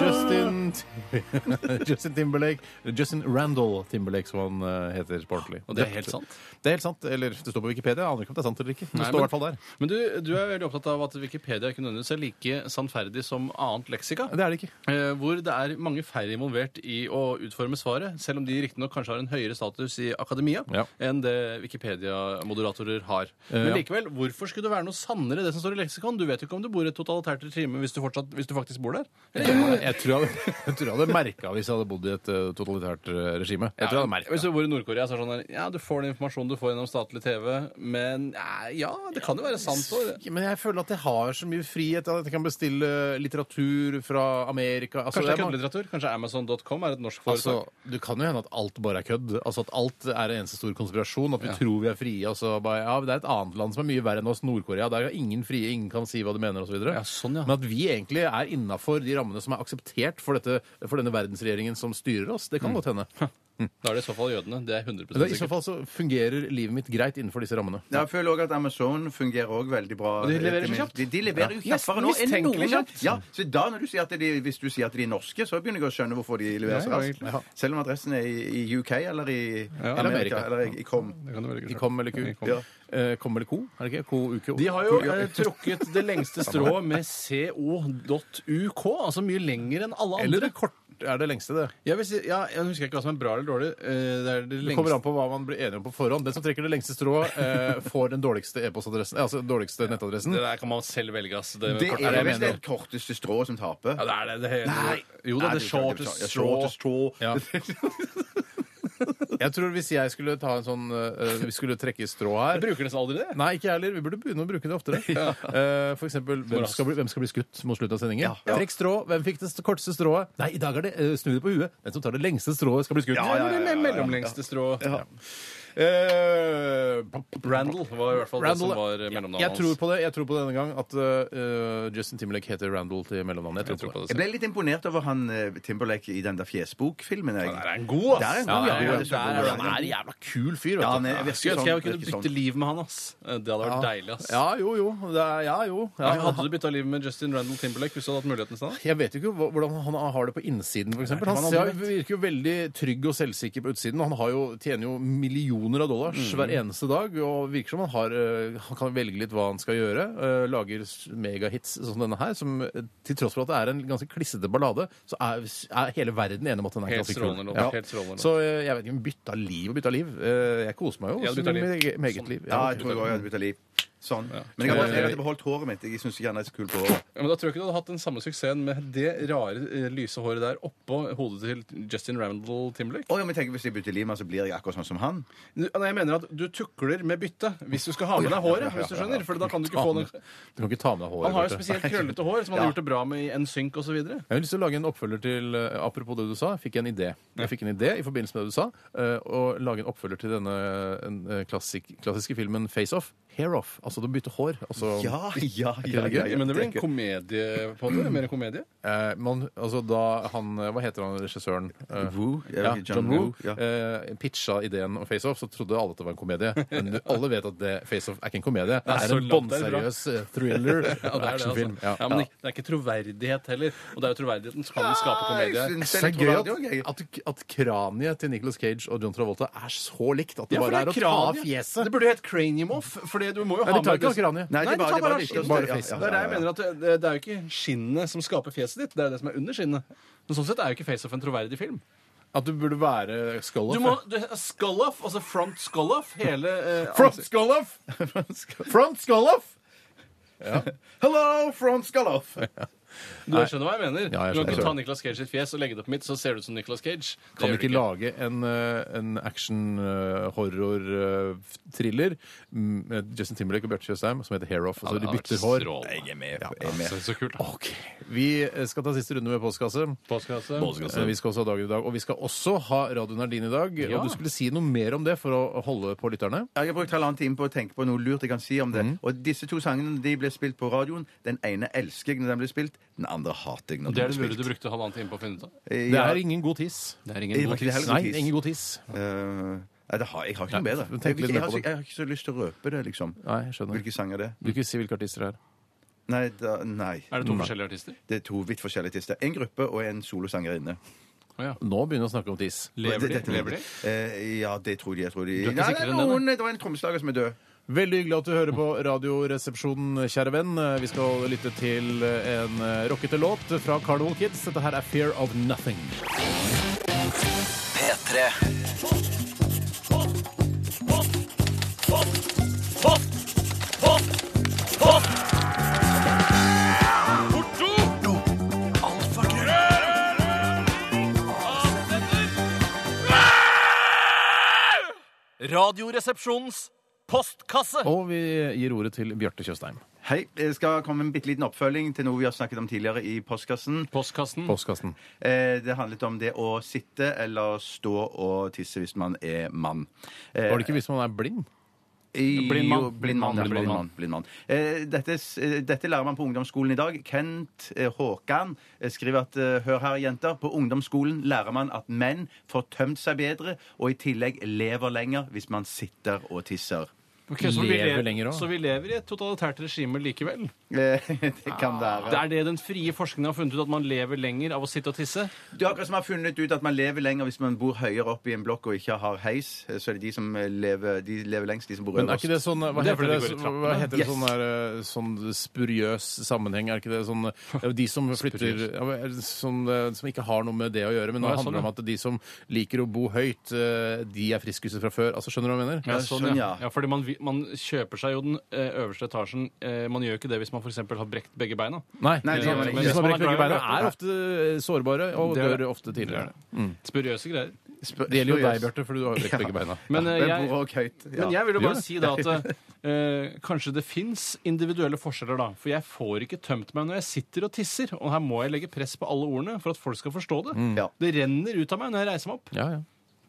Justin, *laughs* Justin Timberlake Justin Randall Timberlake, som han eh, heter på ordentlig.
Og det er helt sant?
Det er helt sant. Eller det står på Wikipedia. Jeg aner ikke om det er sant eller ikke. men Det
Nei,
står i hvert fall der.
Men du, du er veldig opptatt av at Wikipedia ikke nødvendigvis er like sannferdig som annet leksika.
Det er det ikke.
Eh, hvor det er mange færre involvert i å utforme svaret, selv om de riktignok kanskje har en høyere status i akademia
Ja.
enn det Wikipedia-moderatorer har.
Eh,
Men
ja.
likevel, hvorfor skulle det være noe sannere det som står i leksikon? Du vet jo ikke om du bor i et totalitært regime hvis du, fortsatt, hvis du faktisk bor der.
Jeg tror jeg, jeg tror jeg hadde *laughs* merka hvis jeg hadde bodd i et eh, totalitært eh, regime. Jeg tror jeg hadde merket.
Hvis du bor i Nord-Korea, så er det sånn der, ja, du får den informasjonen du får gjennom statlig TV, men eh, ja, det kan jo være sant. Og,
Men jeg føler at jeg har så mye frihet. At jeg kan bestille litteratur fra Amerika. Altså, det
kanskje det er
er mange-
køddelitteratur? Kanskje Amazon.com er et norsk
Altså,
foretak?
du kan jo hende at alt bare er kødd. Altså At alt er en eneste stor konspirasjon. At vi tror vi er frie. Og så bare, ja, det er et annet land som er mye verre enn oss, Nord-Korea. Der er ingen frie, ingen kan si hva de mener, osv.
Ja, sånn, ja.
Men at vi egentlig er innafor de rammene som er akseptert for, dette, for denne verdensregjeringen som styrer oss, det kan godt hende.
da er det i så fall jødene. Altså- Det er 100
Men det, I så
sikkert.
fall så fungerer livet mitt greit innenfor disse rammene.
Ja, Jeg føler også at Amazon fungerer også veldig bra.
Og de leverer så kjapt.
De, de leverer jo
Nesten
kjappere nå enn
mistenkelig
noen
kjapt.
Ja, så da når du sier at de, Hvis du sier at de er norske, så begynner jeg å skjønne hvorfor de leverer så
Ja, ja,
raskt.
egentlig.
Selv om adressen er i, i UK eller i
eller
Amerika.
Amerika.
Eller i, i Kom.
Det kan du velge
I
selv.
Kom eller Ku?
I Kom.
Ja.
Eh, kom eller Ko? Er det ikke? Ko, Uko?
De har jo
*laughs*
eh, trukket det lengste strået med co.uk, altså mye lenger enn alle
Eller
andre.
det kort, er det lengste, det.
Jeg, vil si, ja, jeg husker ikke hva som er bra eller dårlig. eh, Det er det
Det kommer
lengste.
an på hva man blir enige om på forhånd. Den som trekker det lengste strået,
*laughs*
eh, får den dårligste e-postadressen, eh, altså den dårligste nettadressen.
Det der kan man selv velge, ass. Det,
Det
kort-
er
jeg
visst det
mener.
korteste strået som taper.
ja, det er det. det hele- Jo da,
Nei,
the
det er
shortest
shortest
straw.
straw.
*laughs*
Ja. Jeg tror hvis jeg skulle ta en sånn eh, Vi skulle trekke i strå
Jeg
her
bruker nesten aldri det.
Nei, ikke jeg heller. Vi burde begynne å bruke det
*laughs*
oftere. Eh, for eksempel, hvem skal, bli, hvem skal bli skutt mot slutten av sendingen? Trekk strå. Hvem fikk det st- korteste strået? Nei, i dag er det eh, snu det på huet. Den som tar det lengste strået, skal bli skutt.
ja, ja, ja, ja, ja.
Eller mellomlengste strå.
Eh,
Randall var i hvert fall
Randall-
det som var eh, mellomnavnet
jeg tror på det Jeg tror på det denne gang at eh, Justin Timberlake heter Randall til mellomnavnet. Jeg tror, på det.
Jeg ble litt imponert over han eh, Timberlake i den der Fjesbok-filmen. jeg.
Der er en god, ass.
Der er en god,
Ja,
ja.
ja, ja,
Det er så
der
god,
er
ja.
han er en jævla kul fyr.
Ja,
Vet du.
han er-
Jeg
virker
skulle ønske jeg
sånn,
kunne
virker
bytte
sånn.
liv med han, ass. Det hadde vært deilig, ass.
Ja, jo, jo. Det er, ja, jo. Ja,
Ja, Hadde du bytta liv med Justin Randall Timberlake hvis du hadde hatt muligheten i stedet?
Jeg vet jo ikke hva- hvordan han har det på innsiden, f.eks.
Nei,
Han
man
ser,
aldri
virker jo veldig trygg og selvsikker på utsiden. Han har jo, tjener jo millioner av dollars
Mm.
hver eneste dag, og virker som han, har, eh, han kan velge litt hva han skal gjøre. eh, Lager s- megahits sånn som denne her, som eh, til tross for at det er en ganske klissete ballade, så er, er hele verden enig om at den er
Helt
ganske
strålende
kul.
låt, helt strålende låt.
Så eh, jeg vet ikke om bytta liv og bytta liv. Eh, Jeg koser meg jo
Ja, du
også
bytta
med
liv.
eget, med eget
Sånn.
liv.
Ja,
Ja,
jeg tror jeg også jeg hadde bytta liv. Sånn. Men jeg har bare- jeg hadde beholdt håret mitt. Jeg syns ikke han er så kul på håret.
Ja, men da tror jeg ikke du hadde hatt den samme suksessen med det rare, eh, lyse håret der oppå hodet til Justin Randall Timberlake.
Å, ja, men tenk, Hvis jeg bytter lima, så blir jeg akkurat sånn som han.
Nei, Jeg mener at du tukler med byttet hvis du skal ha med deg håret. hvis du skjønner, for da kan du ikke få den...
Ah, Du kan ikke ta med deg håret.
Han har jo
Bjarte.
spesielt krøllete hår, som han har gjort det bra med i NSYNC osv.
Jeg har lyst til å lage en oppfølger til eh, Apropos det du sa, fikk jeg en idé. Jeg fikk en idé i forbindelse med det du sa, eh, å lage en oppfølger til denne eh, klassik, klassiske filmen Face Off. Hair Off. Altså du bytter hår. Altså,
Ja, ja, ja,
Er ikke det
ja,
gøy?
ja.
Men det blir en
Det er
komedie på det? Mer en komedie?
eh, man, altså da han eh, Hva heter han regissøren? Eh,
Woo? Jeg vet
Ja,
ikke,
John Woo
Ja.
eh, pitcha ideen om Face Off, så trodde alle at det var en komedie. Men du- alle vet at det, Face Off er ikke en
*laughs*
komedie. Det er
så
en
langt det er bra.
båndseriøs eh, thriller
*laughs* Ja, det er det,
actionfilm.
altså. ja, men det- det er ikke troverdighet heller. Og det er jo troverdigheten som kan skape komedie.
Jeg synes
Så det
litt
er gøy
troverdig også, jeg.
at, at, at kraniet til Nicolas Cage og John Travolta er så likt at det
Ja, for
bare
det
er,
er
å ta av
kraniet.
fjeset.
Det burde jo hett cranium off. For det- du må jo
Nei,
ha
de tar ikke av
det-
kraniet.
Nei,
Nei,
de
de tar
bare, de
bare
bare, de
bare
ja,
face.
ja,
Det er det jeg
ja, ja.
mener at det, det, det er jo ikke skinnet som skaper fjeset ditt. Det er jo det som er under skinnet. Men sånn sett er jo ikke Face Off en troverdig film.
At du burde være
Du
Skolloff.
må du, skull off, altså front skull off, hele eh,
Front
ansikt-
Skolloff! Front Skolloff!
Hello from Skalloff!
Du skjønner hva jeg mener.
Ja, jeg
du kan
skjønner.
ikke ta Nicolas Cage sitt fjes og legge det på mitt, så ser du ut som Nicolas Cage. Det
Kan
gjør
ikke
du
lage en, eh, en eh, action-horror-thriller eh, med Justin Timberlake og Bjarte Tjøstheim som heter Hair Off. Altså,
Ja, det
de
hadde
bytter
vært
hår.
strålende.
Jeg er med. på- Jeg er med.
Så, så kult. da.
Ok. Vi eh, skal ta siste runde med postkasse.
Postkasse.
Eh, Vi skal også ha dagen i dag, og vi skal også ha Radio Nardin i dag.
Ja.
Og du skulle si noe mer om det for å holde på lytterne?
Jeg har brukt halvannen time på å tenke på noe lurt jeg kan si om det. Og disse to sangene de ble spilt på radioen. Den ene elsker jeg når den ble spilt, den andre hater jeg når
Det er
den
det
ble
mulig du
spilt.
brukte halvannen time på å finne ut av.
Eh,
Det
ja,
er ingen god tiss.
Det er ingen
Jeg
god
var ikke det
tips.
heller.
Nei,
tiss.
ingen god tiss.
eh, Nei, det har, jeg har ikke noe bedre.
tenk
Jeg,
litt
jeg,
mer
har,
på
ikke-
det.
jeg har ikke så lyst til å røpe det, liksom.
Nei, jeg skjønner.
Hvilke sanger det er.
Du kan ikke si hvilke artister det er.
Nei, da, nei.
Er det to forskjellige artister?
Det er to vidt forskjellige artister. En gruppe og en solosangerinne.
Å ja.
Nå begynner vi å snakke om tiss.
Lever de?
Dette- dette-
Lever de?
Eh, ja, det tror de. Jeg tror de.
er ikke
Nei, det,
sikker
er
enn det,
noen, det var en trommeslager som er død.
Veldig hyggelig at du hører på Radioresepsjonen, kjære venn. Vi skal lytte til en rockete låt fra Carnival Kids. Dette her er Fear of Nothing.
P3
Radioresepsjonens postkasse.
Og vi gir ordet til Bjarte Tjøstheim.
Hei, jeg skal komme med en bitte liten oppfølging til noe vi har snakket om tidligere i postkassen.
Postkassen.
Postkassen.
Eh, Det handlet om det å sitte eller stå og tisse hvis man er mann.
Var det ikke hvis man er blind?
Blind
mann.
Blind mann, ja,
Blind mann.
blind mann, blind mann. Eh, Dette, s- eh, dette lærer man på ungdomsskolen i dag. Kent eh, Håkan eh, skriver at eh, hør her, jenter. På ungdomsskolen lærer man at menn får tømt seg bedre og i tillegg lever lenger hvis man sitter og tisser.
Ok, så, vi
Lever
lever,
lenger også.
så vi lever i et totalitært regime likevel?
Eh, *laughs* Det kan
Det
være.
er det den frie forskningen har funnet ut, at man lever lenger av å sitte og tisse?
Du har akkurat som har funnet ut at man lever lenger hvis man bor høyere opp i en blokk og ikke har heis. eh, Så er det de som eh, lever, de lever lengst, de som bor
Men er
øverst.
ikke det sånn Hva
Det
heter
er fordi
det,
det går i trappene.
hva heter det
Yes.
sånn, der, eh, sånn spuriøs sammenheng? Er ikke det sånn det er jo De
*laughs*
som flytter ja, men, eh, som, eh, som ikke har noe med det å gjøre, men nå
Ja, sånn,
handler det om
ja.
at de som liker å bo høyt, eh, de er friskhuset fra før. Altså, skjønner du hva jeg mener?
Ja, sånn, ja.
ja fordi man, vi- man kjøper seg jo den eh, øverste etasjen. Eh, Man gjør jo ikke det hvis man f.eks. har brekt begge beina.
Nei.
Nei, det gjør man
men
ikke.
de som har brekt begge beina, er
Ja.
ofte eh, sårbare og
Det er
dør
det.
ofte tidligere.
Spuriøse greier.
Spør-
Det gjelder jo
spør-
deg, Bjarte, fordi du har jo brekt begge beina.
Men, eh,
Ja, jeg
jeg-
bor også høyt. Ja.
Men jeg vil jo
Gjør
bare
det.
si da
*laughs*
at eh, kanskje det fins individuelle forskjeller, da. For jeg får ikke tømt meg når jeg sitter og tisser. Og her må jeg legge press på alle ordene for at folk skal forstå det.
Mm.
Ja.
Det renner ut av meg når jeg reiser meg opp.
Ja, ja.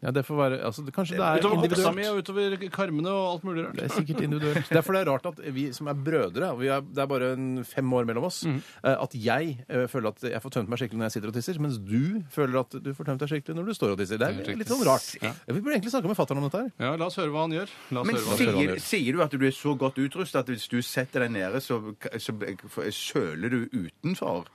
ja det får være altså, det, Kanskje det er
Utover hofta mi
individuelt.
og utover karmene og alt mulig
Det er
rart.
sikkert individuelt. Derfor det er rart at vi som er brødre, og vi er, det er bare en fem år mellom oss, eh, at jeg eh, føler at jeg får tømt meg skikkelig når jeg sitter og tisser, mens du føler at du får tømt deg skikkelig når du står og tisser. Det
Helt
er
riktig.
litt sånn rart. Vi burde egentlig snakke med fatter'n om dette her.
Ja, la oss høre hva han gjør. La oss
Men
høre hva han gjør.
sier, sier du at du er så godt utrustet at hvis du setter deg nede, så, så søler du utenfor?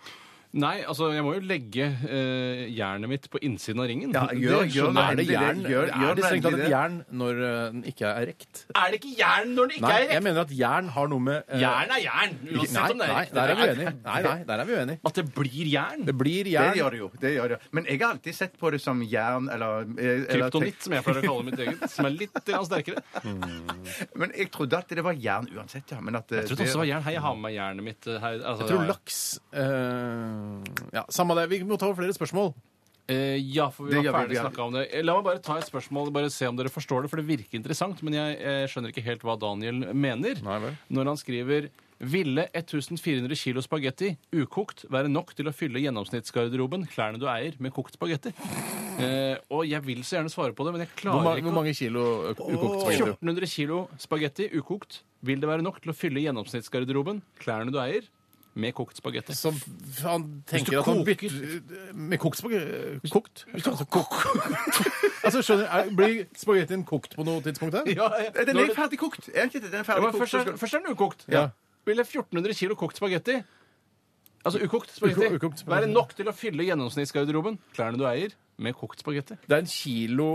Nei, altså, jeg må jo legge uh, jernet mitt på innsiden av ringen.
Ja, gjør-
Det
gjør
skjønner
noe
Er det
endelig
jern?
det. Gjør- gjør
er det strengt tatt et
endelig det.
jern når eh, den ikke er rekt?
jeg. Er det ikke jern når det ikke
Nei,
er
jeg
rekt?
mener at jern har noe med eh,
Jern er jern,
ikke-
uansett
Nei,
om det er
nei,
rekt.
der er vi
eller ei.
uenige. Nei, nei, der er vi uenige.
At det blir jern?
Det blir
Det
jern.
gjør det jo. det gjør det. Men jeg har alltid sett på det som jern eller eh, eller
Kryptonitt, som jeg pleier å kalle mitt eget. Som er litt grann
*laughs*
sterkere.
tek- Men jeg trodde at det var jern uansett, ja. Men at eh,
Jeg trodde også det var jern. Hei, jeg har med meg jernet mitt. eh, Her, altså,
Jeg tror
ja, ja.
laks eh, Ja, samme det. Vi må ta over flere spørsmål.
Eh, ja, for vi
Det
var
gjør vi,
ferdig
ja.
snakka om det. Eh, La meg bare ta et spørsmål bare se om dere forstår det, for det virker interessant, men jeg, eh, skjønner ikke helt hva Daniel mener
Nei vel.
når han skriver ville 1400 kilo spagetti ukokt være nok til å fylle gjennomsnittsgarderoben, klærne du eier, med kokt
*laughs*
spagetti? Eh, og jeg vil så gjerne svare på det, men jeg
Hvor, ma
klarer
hvor
ikke å
mange kilo ø- ukokt spagetti?
1400 kilo spagetti ukokt, vil det være nok til å fylle gjennomsnittsgarderoben, klærne du eier, med kokt spagetti?
Så han tenker
du
at han
koker-
bytter eh, Med kokt spagetti Kokt? *laughs* Altså, altså, skjønner, er, Blir spagettien kokt på noe tidspunkt her?
Ja, ja.
Nei, Den
Når
er
det-
ferdig kokt! Er den ikke det? Den
Ja,
er ferdig
men
kokt.
først,
så
er,
skal-
først er den ukokt.
Ja.
Ville 1400 kilo kokt spagetti Altså ukokt spagetti
Uko- ukokt spagetti.
være nok til å fylle gjennomsnittsgarderoben, klærne du eier, med kokt spagetti?
Det er en kilo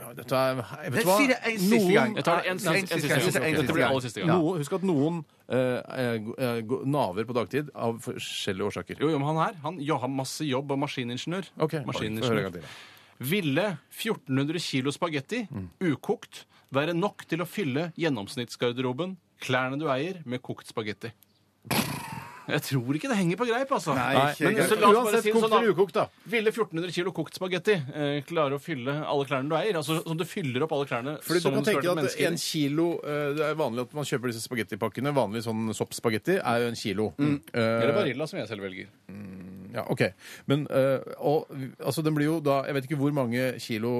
ja, Dette er jeg Vet du hva?
Si det en siste gang.
Jeg tar det en, en, en, siste gang.
siste gang.
Dette blir aller siste gang.
Noe, husk at noen ø, er go- er go- naver på dagtid av forskjellige årsaker.
Jo, jo, men han her han jo, har masse jobb og maskiningeniør.
Ok, får høre en
maskiningeniør.
gang til.
Ville 1400 kilo spagetti ukokt være nok til å fylle gjennomsnittsgarderoben, klærne du eier, med kokt spagetti? Jeg tror ikke det henger på greip, altså.
Nei, ikke
men
helt.
så la oss bare
eh, Uansett
si det
kokt
sånn, da.
eller ukokt, da.
Ville 1400 kilo kokt spagetti eh, klare å fylle alle klærne du eier? Altså som du fyller opp alle klærne
Fordi
som
du kan
det skal
tenke
være
at
mennesker i.
en kilo eh, Det er vanlig at man kjøper disse spagettipakkene. Vanlig sånn soppspagetti er jo en kilo.
Mm.
Eh,
Eller Barilla, som jeg selv velger.
ja, ok. Men eh, og, altså, den blir jo da Jeg vet ikke hvor mange kilo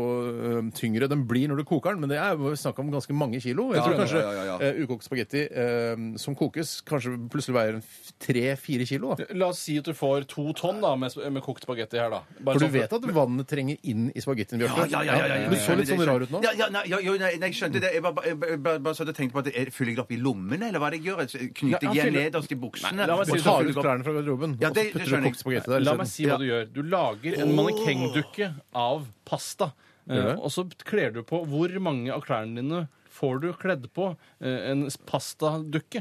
eh, tyngre den blir når du koker den, men det er jo snakk om ganske mange kilo. Jeg
Ja,
tror
ja,
kanskje
ja, ja, ja.
eh, ukokt spagetti eh, som kokes, kanskje plutselig veier tre-fire kilo. da
La oss si at du får to tonn da, med, med kokt spagetti her, da. Bare
For du
sånn
vet at vannet trenger inn i spagettien,
Ja,
Bjarte?
ja, ja, ja, ja, ja.
Du så litt sånn rar ut nå.
Ja, ja, nei, ja, jo, nei, nei, jeg skjønte det. Jeg bare, jeg bare, bare, bare satt og tenkte på at er- Fyller jeg det opp i lommene, eller hva er det jeg gjør? Jeg Knyter
Ja,
jeg
han
igjen
fyller-
nederst i buksene?
Nei, la meg
Du
si
og
det sånn-
så
tar ut
fyller jeg opp-
klærne fra garderoben
Ja,
og
det-
så
det
putter
skjønner
du
jeg.
kokt spagetti der.
La
isteden.
meg si hva du gjør. Du lager en mannekengdukke av pasta.
du
Eh,
det?
og så kler du på hvor mange av klærne dine får du kledd på eh, en s- pastadukke.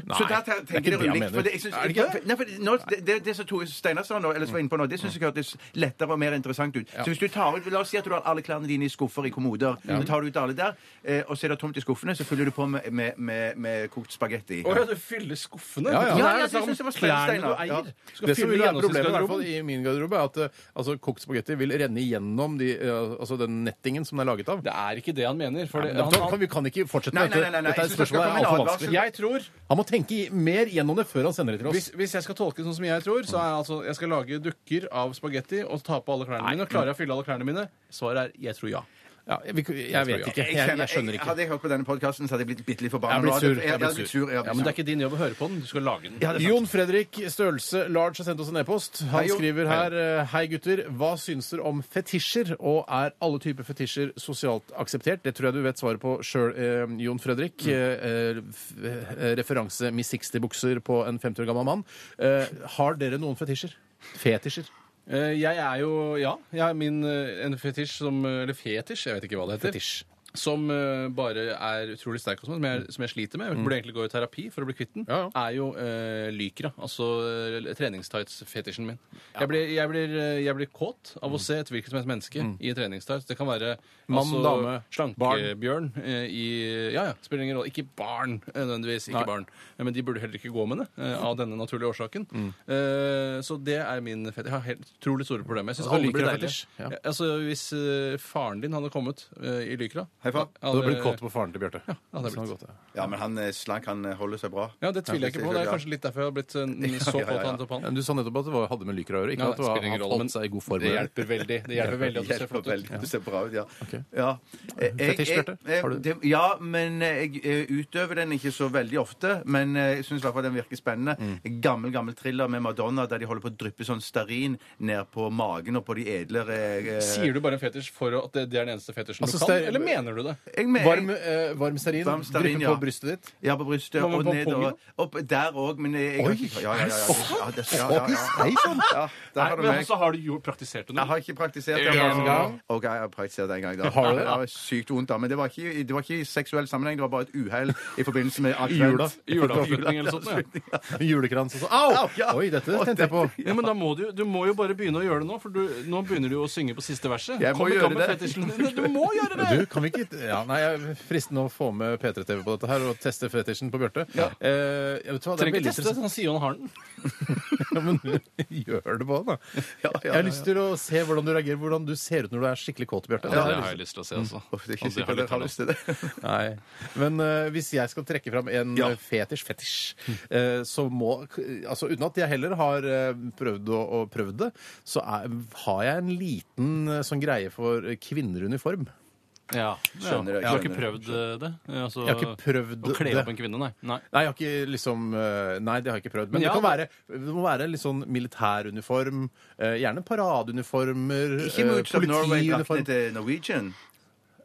det
Så der te-
er
tenker
ikke
jeg
det jeg
ulikt. for
mener. Er
det- jeg
det ikke
synes- Nei, for nå- det- Det det som Tore Steinar sa nå, eller som var inne på nå, det syns jeg hørtes lettere og mer interessant ut. Så hvis du tar ut, La oss si at du har alle klærne dine i skuffer i kommoder. Så tar du ut alle der, eh, og så er det tomt i skuffene, så fyller du på med, med, med, med kokt spagetti.
Å ja, du fyller skuffene?
Ja, ja.
Det
Ja,
er
ja,
det samme
det synes jeg var
klærne
spennende,
du
Steinar.
eier.
Ja.
Du skal
Det som
fylle
vil være problemet i hvert fall
gjennomsnittsgarderoben.
i min garderobe, er at eh, altså, kokt spagetti vil renne igjennom de, eh, altså, den nettingen som den er laget av.
Det er ikke det han mener. For det,
Men da
han,
kan, vi kan ikke fortsette
Nei,
med
nei,
dette.
nei, nei, nei,
Dette
jeg
er
synes det skal
spørsmålet er
komme en
altfor
advarsel.
vanskelig.
jeg tror
Han må tenke i- mer gjennom det før han sender det til
hvis,
oss.
hvis jeg skal tolke det sånn som jeg tror, så er altså jeg skal lage dukker av spagetti og ta på alle klærne mine. Og klarer jeg å fylle alle klærne mine? Svaret er jeg tror ja.
Ja, jeg, jeg, vet ikke.
Jeg
Jeg, jeg
kjenner-
skjønner ikke.
Hadde jeg hørt på denne podkasten, hadde jeg blitt bitte litt forbanna.
Jeg blir
Nå hadde-
sur. Jeg
Jeg
blir
hadde blitt
sur.
sur. jeg hadde
Ja,
blitt
Men det
sur.
er ikke din jobb å høre på den. Du skal lage den.
Jon Fredrik Størrelse Large har sendt oss en e-post. Han
Hei, Jon.
skriver her eh, Hei, gutter. Hva syns dere om fetisjer? Og er alle typer fetisjer sosialt akseptert? Det tror jeg du vet svaret på sjøl, eh, Jon Fredrik. Eh, eh, f- eh, referanse Miss 60-bukser på en 50 år gammel mann. Eh, har dere noen fetisjer? Fetisjer?
Eh, Jeg er jo ja. Jeg er min, eh, en fetisj som Eller fetisj, jeg vet ikke hva det heter.
Fetisj.
Som eh, bare er utrolig sterk, og sånn, som, jeg, som jeg sliter med. Jeg burde egentlig gå i terapi for å bli kvitt den.
Ja, ja.
Er jo uh, lykra. Altså eh, treningstights-fetisjen min. Jeg, blir, jeg, blir, eh, jeg blir kåt av å se et hvilket som helst menneske i treningstights. Det kan være
Mm.
altså,
Mann, dame, barn.
slankebjørn eh, i Ja ja, spiller ingen rolle. Ikke barn, eh, nødvendigvis. Ikke
Nei. Mm.
barn. Eh, Men de burde heller ikke gå med det, eh, av denne naturlige årsaken. Eh, så det er min fetisj. Jeg har helt utrolig store problemer. Jeg syns
Altså,
alle
lycra
blir deilige.
fetisj, ja.
Ja, Altså, hvis eh, faren din hadde kommet eh, i Lykra
Hei, faen.
Du
Ja,
har
det-
blitt kåt på faren til Bjarte.
Ja, det,
Sånn
er
har
blitt.
det gått, ja.
Ja, men han eh, slank, han eh, holder seg bra.
ja, det tviler jeg ikke på. Det er
*laughs*
kanskje litt derfor jeg har blitt eh, så
Ja, ja, ja,
kåt
ja.
av en topp
Ja,
han.
du sa nettopp at det var, hadde med lyker å gjøre. Ikke at
Ja,
det var,
spiller ingen
han
rolle, men
holdt seg i god form.
Det hjelper veldig. Det hjelper veldig at du
Hjelper
ser flott ut.
veldig. Du ser bra ut, ja. ja. Eh,
Fetisj, Bjarte?
eh,
Har du-
det- Ja, men eh, jeg eh, utøver den ikke så veldig ofte. Men eh, jeg syns i hvert fall den virker spennende.
Mm.
Gammel, gammel thriller med Madonna der de holder på å dryppe sånn stearin ned på magen og på de edlere eh,
Sier du bare en fetisj for å- at det, det er den eneste fetisjen
Altså,
du kan,
stear-
eller mener Mener du det?
Jeg mener-
Varm, eh, varm stearin
Varm stearin,
drypper
ja.
på brystet ditt.
Ja, på brystet
Hva med
og
på
nedover.
pungen?
Opp, der òg, men eh, jeg, jeg
Oi,
ja, ja, ja, ja, ja, det- ja, ja, ja.
Nei, sånn.
ja, der
Nei,
har du
men
meg.
altså, har du gjort, praktisert det
Jeg
nå?
har ikke praktisert det.
En gang.
Ok, jeg har praktisert det en gang. Da.
Har du det?
var sykt vondt, da. Men det var ikke, det var ikke i seksuell sammenheng, det var bare et uhell i forbindelse med advent.
jula.
Juleavslutning eller sånt? Ja.
*laughs* Julekrans og sånn. Au!
ja.
Oi, dette tente jeg på.
Ja, men da må du, du må jo bare begynne å gjøre det nå, for du, nå begynner du jo å synge på siste verset.
Jeg må
Kom i
gjøre
gang med
det.
fetisjen. Nei, Du må gjøre det!
Du, kan vi ikke ja, Nei, jeg er fristende å få med P3-TV på dette her og teste fetisjen på Bjarte. Eh, jeg vet hva, det er
trenger
veldig
ikke teste det,
interessant.
sånn han sier jo han har den.
*laughs* Ja, men *laughs* gjør det på den, da. Jeg har lyst til å se hvordan du reagerer, hvordan du ser ut når du er skikkelig kåt, Bjarte.
Ja,
Det
det
har jeg
har jeg lyst til å se, altså.
Uff, det er ikke
Ja, det
sikkert
har
jeg
jeg
har
lyst
lyst til det.
Nei.
*laughs*
Men eh, hvis jeg skal trekke fram en
Ja.
eh, fetisj, fetisj eh, så må Altså uten at jeg heller har eh, prøvd og, og prøvd det, så er, har jeg en liten eh, sånn greie for eh, kvinner i uniform.
Ja.
Skjønner jeg,
Du har ikke
skjønner jeg.
prøvd eh, det? Altså,
Jeg har ikke prøvd
Å kle
det.
opp en kvinne, nei. nei.
Nei, jeg har ikke liksom eh, Nei, det har jeg ikke prøvd. Men
Men ja,
det kan være Det må være litt sånn militæruniform. eh, Gjerne paradeuniformer.
Ikke
eh,
Moods of Norway-draktene
politiuniform.
til Norwegian.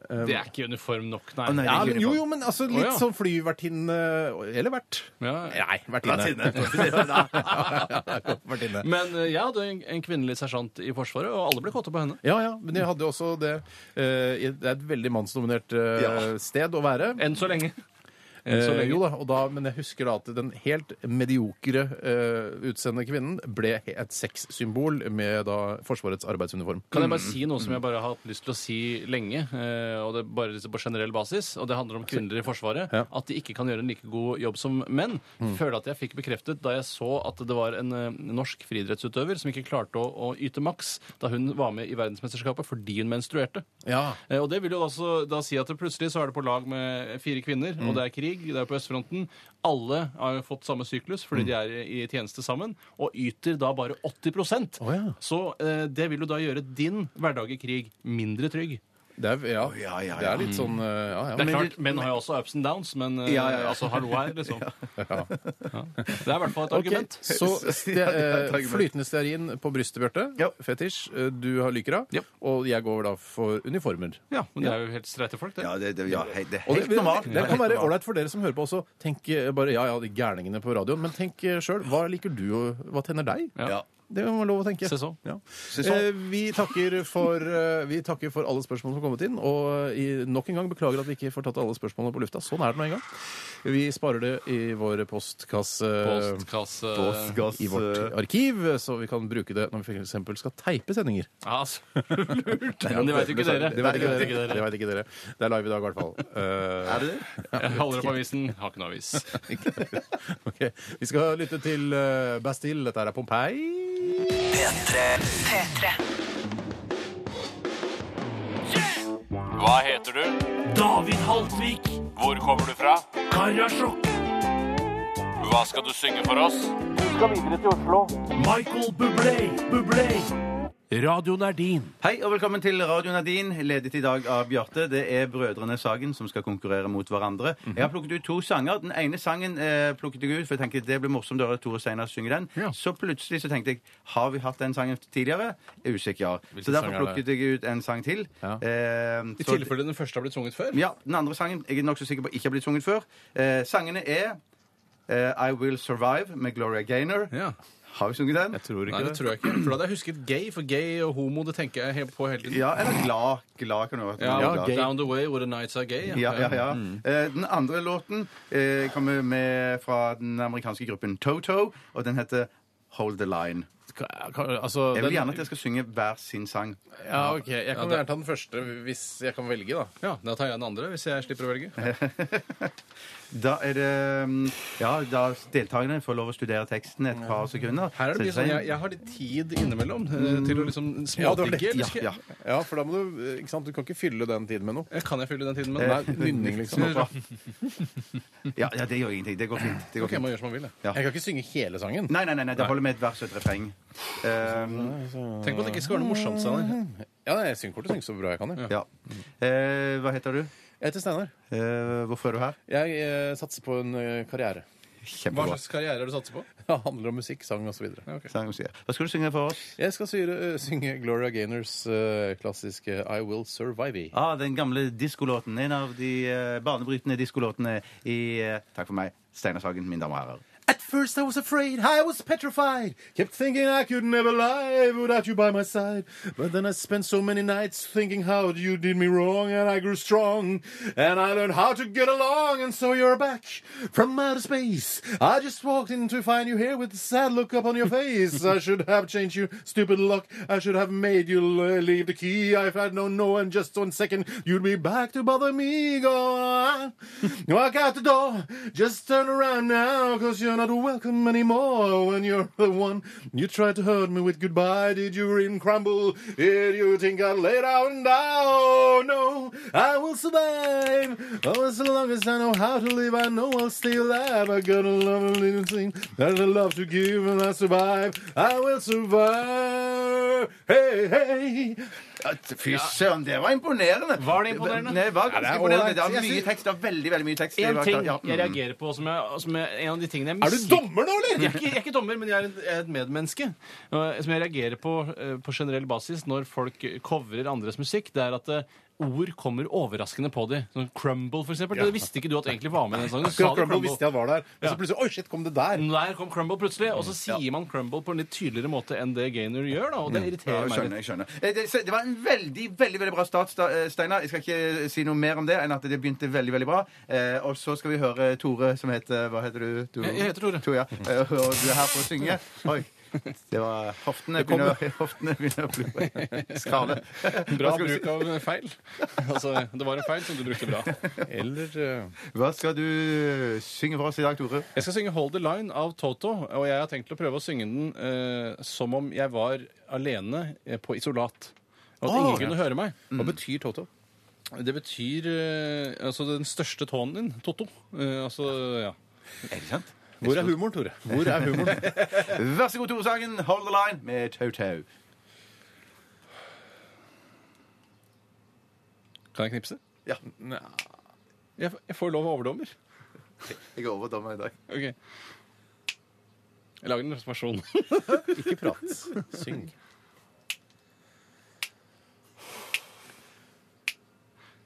Det er ikke uniform nok, nei.
Å, nei, det
Ja,
er
men,
ikke
jo, jo,
uniform.
men altså
Å,
litt
ja.
sånn flyvertinne Eller vert.
Ja.
Nei, vertinne. vertinne.
Men eh, jeg hadde en, en kvinnelig sersjant i Forsvaret, og alle ble kåte på henne.
Ja, ja, men jeg hadde jo også det eh, i- Det er et veldig mannsdominert eh,
Ja.
sted å være.
Enn så lenge. Enn så
Eh,
lenge.
jo da, og da, Men jeg husker da at den helt mediokre eh, utseende kvinnen ble et sexsymbol med da Forsvarets arbeidsuniform.
Kan jeg bare si noe som jeg bare har hatt lyst til å si lenge, eh, og det er bare liksom på generell basis, og det handler om kvinner i Forsvaret,
Ja.
at de ikke kan gjøre en like god jobb som menn. Føler at jeg fikk bekreftet da jeg så at det var en eh, norsk friidrettsutøver som ikke klarte å, å yte maks da hun var med i verdensmesterskapet fordi hun menstruerte.
Ja.
Eh, Og det vil jo også da si at det plutselig så er det på lag med fire kvinner, og det er krig, det er på østfronten. Alle har jo fått samme syklus fordi de er i tjeneste sammen, og yter da bare 80
Å, ja.
Så eh, det vil jo da gjøre din hverdag i krig mindre trygg.
Det er, ja,
ja, ja, Mm.
Det er litt sånn eh, Ja, ja.
Det er
Men-
klart, Menn har jo også ups and downs, men eh,
Ja, ja, ja.
altså hallo her, *laughs* liksom.
ja.
Ja. Det er i hvert fall et
Ok,
argument.
Så ste,
Ja, det er et
eh,
argument.
flytende stearin på brystet, Bjarte.
Ja.
Fetisj. Eh, Du har lykra.
Ja.
Og jeg går da for uniformer.
Ja, men det er jo helt streite folk, det.
Ja, det, det, ja, hei, det er
Og det,
helt normalt.
det kan
Helt
være
normalt.
ålreit for dere som hører på også. Tenk eh, bare, ja, ja, de gærningene på radioen, men tenk sjøl. Hva liker du, og hva tenner deg?
Ja.
Det må være lov å tenke.
Se sånn.
Ja.
sånn.
Eh, vi, takker for, eh, vi takker for alle spørsmål som har kommet inn. Og eh, i, nok en gang beklager at vi ikke får tatt alle spørsmålene på lufta. Sånn er det nå en gang. Vi sparer det i vår postkasse.
Eh, Postkasse
Postgass,
I vårt
eh,
arkiv, så vi kan bruke det når vi f.eks. skal teipe sendinger.
Ja, altså, *laughs* Lurt! Men det vet jo ikke dere.
Det vet ikke
Det vet
dere. Det, vet ikke dere. det er live i dag, i
*laughs*
hvert fall. Eh,
Er det det?
Jeg holder opp avisen. Har ikke noe avis.
Eh, *laughs* ok. Vi skal lytte til eh, Bastille. Dette her er Pompeii.
P3.
Hva heter du? David Haltvik. Hvor kommer du fra? Karasjok. Hva skal du synge for oss? Du skal videre til Oslo. Michael Bublé. Bublé. Radioen er din.
Hei og velkommen til Radio Nadine, ledet i dag av Bjarte. Det er brødrene Sagen som skal konkurrere mot hverandre.
Mhm.
Jeg har plukket ut to sanger. Den ene sangen eh, plukket jeg ut, for jeg tenkte det blir morsomt å høre Tore Steinar synge den.
Ja.
Så plutselig så tenkte jeg har vi hatt den sangen tidligere? Jeg er usikker. ja.
Hvilken
Så derfor
sang er det?
plukket jeg ut en sang til.
Ja.
Eh,
I
så-
tilfelle den første har blitt sunget før.
ja, Den andre sangen jeg er nokså sikker på ikke har blitt sunget før. Eh, sangene er eh, I Will Survive med Gloria Gaynor.
Ja.
Har vi sunget den?
Tror
Nei, det tror jeg ikke. For da hadde jeg husket gay, for gay og homo det tenker jeg helt på hele tiden.
Ja, eller Glad. Glad kan du høre.
Ja,
Ja, gay.
Down the way where the nights are gay.
Ja, ja, ja. Eh, Den andre låten eh, kommer med fra den amerikanske gruppen Toto, og den heter Hold the Line.
Ka- ka- Altså,
Jeg vil
den-
gjerne at jeg skal synge hver sin sang.
ja, ok. Jeg kan gjerne ta den første hvis jeg kan velge, da.
Ja, Da tar jeg den andre, hvis jeg slipper å velge.
Da er det mm, Ja, da deltakerne får lov å studere teksten et par sekunder.
Her er det mye
Sette seg
sånn, jeg,
inn.
jeg har litt tid innimellom eh, til å liksom
Ja, det var
smådigge.
lett,
eller
ja,
skal jeg-
Mm. Ja.
Ja, for da må du eh, Ikke sant, du kan ikke fylle den tiden med noe.
Eh, Kan jeg fylle den tiden med
Nei,
den?
nynning, liksom.
Ja, ja, det gjør ingenting. Det går fint. Det
*laughs*
går
Ok, man
fint.
gjør som man vil. da.
Jeg kan ikke synge hele sangen.
Nei, nei, nei, nei, det holder med et vers og et refreng. Eh,
Tenk på at det ikke skal være noe morsomt.
Mm.
Steinar.
Ja, nei, jeg synger kort og synger så bra jeg kan. Jeg,
ja. Eh, hva heter du?
jeg heter Steinar.
Eh, hvorfor er du her?
Jeg eh, satser på en eh, karriere. *laughs*
Hva
Kjempebra.
slags karriere har du satset på?
Det handler om musikk, sang osv. videre
Sang og sier. Hva skal du synge for oss?
Jeg skal syre, ø, synge Gloria Gaynors ø, klassiske I Will Survive.
Ah, den gamle diskolåten. En av de eh, banebrytende diskolåtene i eh, Takk for meg, Steinar Sagen, mine damer og herrer.
At first I was afraid, I was petrified. Kept thinking I could never lie without you by my side. But then I spent so many nights thinking how you did me wrong, and I grew strong. And I learned how to get along, and so you're back from outer space. I just walked in to find you here with a sad look upon your face. I should have changed your stupid luck. I should have made you l- leave the key. If I'd known no in just one second, you'd be back to bother me. Go on. Walk out the door. Just turn around now, cause you're not welcome anymore. When you're the one you tried to hurt me with goodbye, did you grin crumble? Did you think I'd lay down and die? Oh, no, I will survive. Oh, as long as I know how to live, I know I'll stay alive. I got a love and little thing that I love to give, and I survive. I will survive. Hey, hey.
Fy søren, det var imponerende!
Var det imponerende?
Nei, det var
Ja,
ganske
det er
imponerende.
ålreit.
Det var
Jeg
mye
synes-
tekst. Det var veldig, veldig mye tekst. Det
En
var-
ting
ja, mm.
jeg reagerer på som jeg, som jeg, En av de tingene jeg
Er du dommer nå,
Jeg
eller?
er ikke, jeg er ikke dommer, men jeg er, en, jeg er et medmenneske. Eh, Som jeg reagerer på eh, på generell basis når folk covrer andres musikk, det er at eh, Ord kommer overraskende på dem. Sånn Crumble, for eksempel. Det visste ikke du at egentlig var med i den sangen. Du sa
Akkurat
det
Crumble visste jeg var der. Men så plutselig Oi, shit, kom det der?
Der kom Crumble plutselig. Og så sier man Crumble på en litt tydeligere måte enn det Gaynor gjør, da. Og
Mm.
det irriterer
Ja, jeg skjønner,
meg.
jeg skjønner. Eh, Det, så det var en veldig veldig, veldig bra start, Sta- eh, Steinar. Jeg skal ikke si noe mer om det enn at det begynte veldig veldig bra. Eh, og så skal vi høre Tore, som heter Hva heter du? Tore?
Jeg- jeg heter Tore.
ja. Eh, og du er her for å synge. Oi. Det var hoftene begynner, *laughs* hoftene begynner å bli skrale.
Bra
Hva skal du si?
bruk av feil. Altså, det var en feil som du brukte bra.
Eller
Hva skal du synge for oss i dag, Tore?
Jeg skal synge Hold the Line av Toto, og jeg har tenkt å prøve å synge den eh, som om jeg var alene eh, på isolat. Og at
Åh!
ingen kunne høre meg.
Hva betyr Toto?
Ah. Mm. Det betyr eh, altså den største tåen din, Toto. Eh, altså, ja.
Er det sant?
Hvor er humoren, Tore? Hvor er humoren?
Vær så god, Tore Sagen. Hold the line med Toto.
Kan jeg knipse?
Ja.
Jeg, jeg får lov av overdommer.
Jeg er overdommer i dag.
Ok. Jeg lager en reservasjon.
Ikke prat. Syng.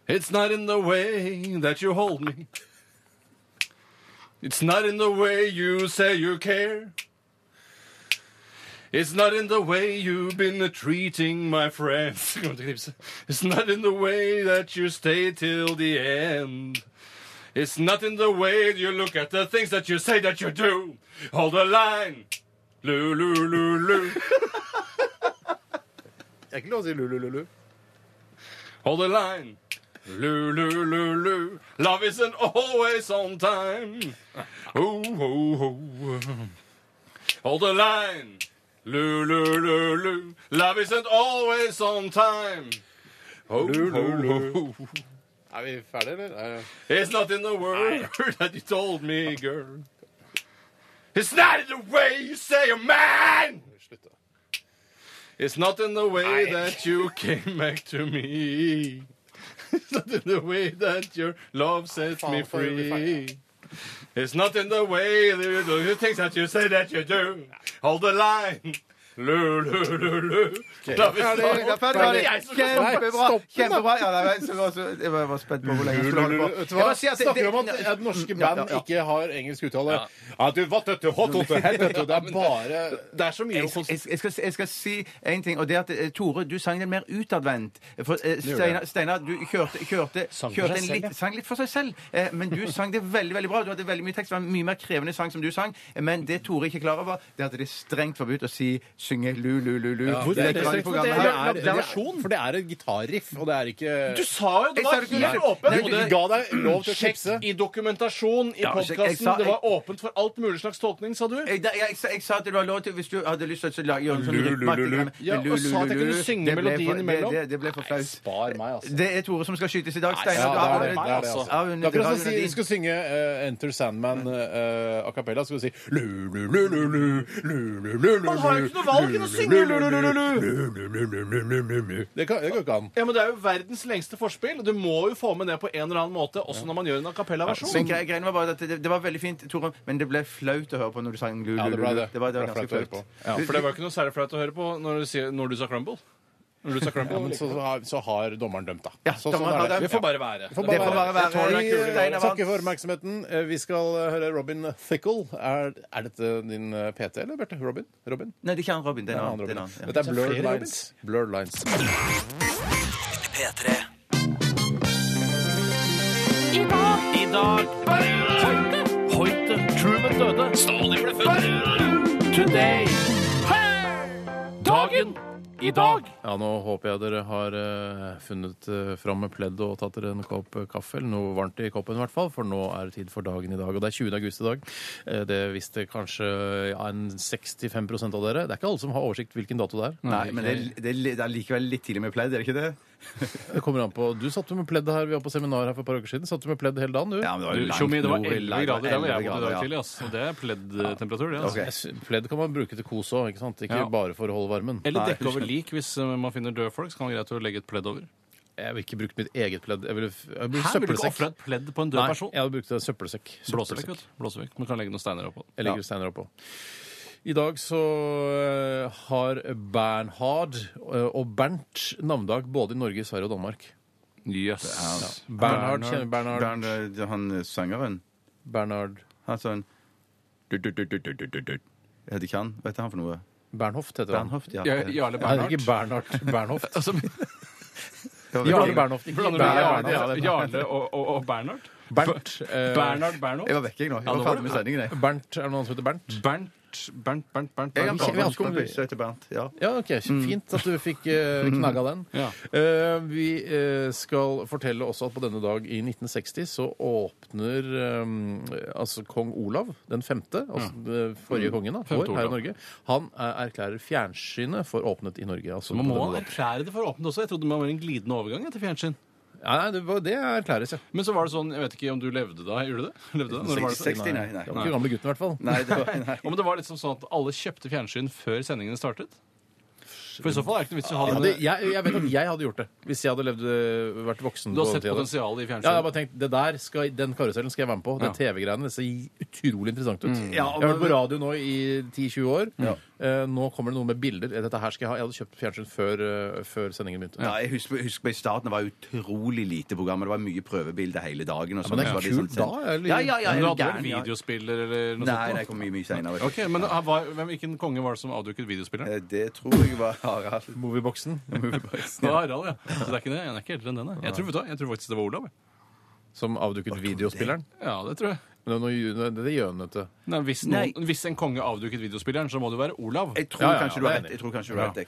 It's not in the way that you hold me. It's not in the way you say you care. It's not in the way you've been treating my friends. *laughs* Kommer til å knipse. It's not in the way that you stay till the end. It's not in the way you look at the things that you say that you do. Hold the line. Lu, lu, lu, lu.
Jeg er ikke lov å si lu-lu-lu-lu.
Hold the line. Lu, lu, lu, lu. Love isn't always on time. Ho, ho, ho. Hold the line. Lu, lu, lu, lu. Love isn't always on time. Ho, ho,
*laughs*
ho.
Er vi ferdige, eller?
It's not in the word *laughs* that you told me, girl. It's not in the way you say you're man. It's not in the way
*laughs*
that you came back to me. It's not in the way that your love set me
Faen, får jeg bli
free. It's not in the way that you do the things that you say that you do. Hold the line. Lu, lu, lu, lu. Da vi
Ferdig, det er
står-
ferdig, ferdig.
Det er jeg som kommer
Kjempebra!
på
Stopp den, da.
kjempebra. Ja, nei, jeg var så- jeg var jeg var spent på hvor lenge jeg skulle holde på.
Vet du
Jeg
hva?
bare sier at det-
Snakker om at,
det-
at norske
Ja,
band
ja, ja.
ikke har engelsk uttale. At du vatt dette, hot, hot, helvete, Det er bare
Det er så mye å
Jeg, jeg, jeg, skal, jeg skal si en ting, og det er at eh, Tore, du sang den mer utadvendt. For eh, Steinar- Steinar, du kjørte, kjørte,
Sang for seg
kjørte en
selv,
litt,
ja.
sang litt for seg selv, eh, men du sang det veldig veldig bra. Du hadde veldig mye tekst. Det var en mye mer krevende sang som du sang. eh, Men det Tore ikke er klar over, det er at det er strengt forbudt å si synge lu-lu-lu-lu.
Hvor- det er ikke strengt, for det
radioprogrammet.
er- det er- For det er et gitarriff, og det er ikke
Du sa jo det
Jeg sa
var
det ikke. Nei, nei,
helt åpent! og
Du
det-
ga deg lov til å
Sjekk
knipse.
i dokumentasjon i
Ja, sjekk. Jeg
podkasten.
sa-
Det var åpent for alt mulig slags tolkning, sa du.
Jeg, jeg, jeg, sa- jeg sa at det var lov til Hvis du hadde lyst til å lage gjøre en sånn rytmeaktig greie med
Ja, og sa at jeg kunne
lu-lu-lu-lu.
synge
Det ble for-
melodien
det-
imellom.
Det, det ble for flaut.
Spar meg, altså.
Det er Tore som skal skytes i dag.
Ja, det
Steinar, du har
er det, det, er det,
altså.
altså. Det er akkurat som å si, du skulle synge eh, Enter Sandman eh, eh, a cappella. Skulle du si lu, lu, lu, lu, lu, lu, lu, lu, lu, lu,
Man har jo ikke noe
skal kunne synge lulululu!
Det kan- det går ikke an.
Ja, men Det er jo verdens lengste forspill. Du må jo få med det på en eller annen måte, også når man gjør en a cappella-versjon.
Men gre- greien var bare at det, det var veldig fint, Tore, men det ble flaut å høre på når du sang lulululu.
Ja, det ble det.
Det var, det
Det
var
ble
ganske
flaut å høre
flaut.
på. Ja,
For det var jo ikke noe særlig flaut å høre på når du, sier, når du sa crumble. Når du sa crumble
Ja, men så, så har- så har dommeren dømt, da.
Ja,
Så,
dommeren
er
har
det.
dømt.
Vi får bare være.
Det får bare være.
Jeg tåler den kule.
Steiner
Vi takker for oppmerksomheten. Eh, Vi skal eh, høre Robin Thickel. Er, er dette din eh, PT, eller, Bjarte? Robin? Robin?
Nei, det er ikke han Robin. Det er
Ja,
en
han
annen. Det er
Robin.
en annen, ja.
Dette
Så
er Blurred
flere
Lines. Blurred Lines.
P3.
I dag. I dag. Hoite. Hoite. Truman døde. Stalin ble født. Today. Dagen. I dag.
Ja, Nå håper jeg dere har eh, funnet eh, fram med pleddet og tatt dere en kopp eh, kaffe, eller noe varmt i koppen i hvert fall, for nå er det tid for dagen i dag. Og det er 20. august i dag. Eh, det visste kanskje ja, en 65 av dere. Det er ikke alle som har oversikt hvilken dato det er.
Nei, men det, det, det er likevel litt tidlig med pledd, er det ikke det?
Det kommer an på. Du satt jo med pledd her, vi var på seminar her for et par uker siden. Satt du med pledd hele dagen, du?
Ja, men det var jo
Du,
langt
Tjommi, det var
nord,
11
langt-
grader der hvor jeg bodde
11
i dag
grader, ja.
tidlig. ass. Og det er pledd-temperatur, det. ass.
Ok.
Jeg sy- Pledd kan man bruke til kos òg, ikke sant? Ikke
Ja.
bare for å holde varmen.
Eller dekke over lik hvis eh, man finner døde folk. Så kan det være greit å legge et pledd over.
Jeg ville ikke brukt mitt eget pledd. Jeg ville, f- jeg ville
Her vil du ikke
søppelsekk.
ofre et pledd på en død
Nei,
person.
jeg hadde brukt en søppelsekk.
Blåser vekk,
Søppelsekk.
vet du. Blåser vekk. Man kan legge noen steiner oppå.
Jeg legger steiner oppå. I dag så eh, har Bernhard eh, og Bernt navnedag både i Norge, Sverige og Danmark.
Jøss.
Ja. Bernhard, kjenner du Bernhard.
Bernd, eh, han eh, sangeren.
Bernhard
Han sånn du, du, du, du, du, du, du, du. Jeg heter ikke han. Hva heter han for noe?
Bernhoft heter han.
Bernhoft, ja.
Ja, Jarle Bernhard. Ikke Bernhard.
*laughs*
Bernhoft. Jarle
Jarle
Bernhoft. Ikke
Altså, Blander du
Bernhard.
Jarle, Jarle og, og, og Bernhard?
Bernt. eh,
Bernhard Bernhoft?
Jeg var vekk, jeg nå.
Ja,
Jeg
nå
var
var
ferdig
du-
med sendingen, jeg.
Bernt, Er det noen som heter Bernt?
Bernt, Bernt, Bernt, Bernt,
Jeg
vi
har
kjenner- vi har ikke om-
Bernt. Jeg heter Bernt. Ja.
Ja, ok. Fint at du fikk eh, knagga den.
Ja.
Eh, vi eh, skal fortelle også at på denne dag i 1960 så åpner eh, altså kong Olav den femte, altså den forrige kongen da,
Femte
vår her
Olav.
i Norge, han eh, erklærer fjernsynet for åpnet i Norge. Altså,
Man
på
må
denne dagen.
erklære det for åpent også. Jeg trodde man var en glidende overgang etter fjernsyn.
Nei, nei, det, var- det erklæres, ja.
Men så var det sånn, jeg vet ikke om du levde da, gjorde du det? *laughs* Levde da? Når var det sånn?
60, nei, nei.
Det var ikke gamle gutten i hvert fall.
Nei, det var, nei.
Om det var liksom sånn at alle kjøpte fjernsyn før sendingene startet? For i så fall er det ikke noe vits i å ha
Jeg,
det
hadde,
med
jeg, jeg vet at jeg hadde gjort det hvis jeg hadde levd, eh, vært voksen.
Du har
på den
sett
tiden.
potensialet
Ja,
i
jeg har
fjernsyn.
bare tenkt, det der skal, Den karusellen skal jeg være med på. Det TV-greiene det ser utrolig interessant ut.
Mm. Ja, og-
jeg har vært på radio nå i 10-20 år. Eh, nå kommer det noe med bilder. Dette her skal Jeg ha. Jeg hadde kjøpt fjernsyn før, eh, før sendingen begynte.
Ja, jeg husker, husker I starten det var utrolig lite programmer. Det var mye prøvebilder hele dagen. Og
men det er
sånn, så var
kult
sånn-
da, eller-
Ja, ja, ja,
Men du
ja,
hadde vel
gæren, ja.
videospiller eller noe
Nei, det
sånt? da?
kom mye, mye seinere.
Ok, men ah, hva- hvem- Hvilken konge var det som avduket videospilleren?
Eh, Det tror jeg var Harald. *laughs*
Movieboxen.
Det var Harald, ja. Så det er ikke det? Han er ikke eldre enn den, nei. jeg. Tror, vet du hva, jeg tror faktisk det var Olav. jeg.
Som avduket videospilleren.
Ja, det tror jeg.
Men det er noe ju- det- det gjør hun, vet du.
Nei, hvis,
Nei.
noen, hvis en konge avduket videospilleren, så må det være Olav.
Jeg tror
Ja, ja, ja,
kanskje du har
det er
rett. Jeg tror kanskje du har rett. jeg.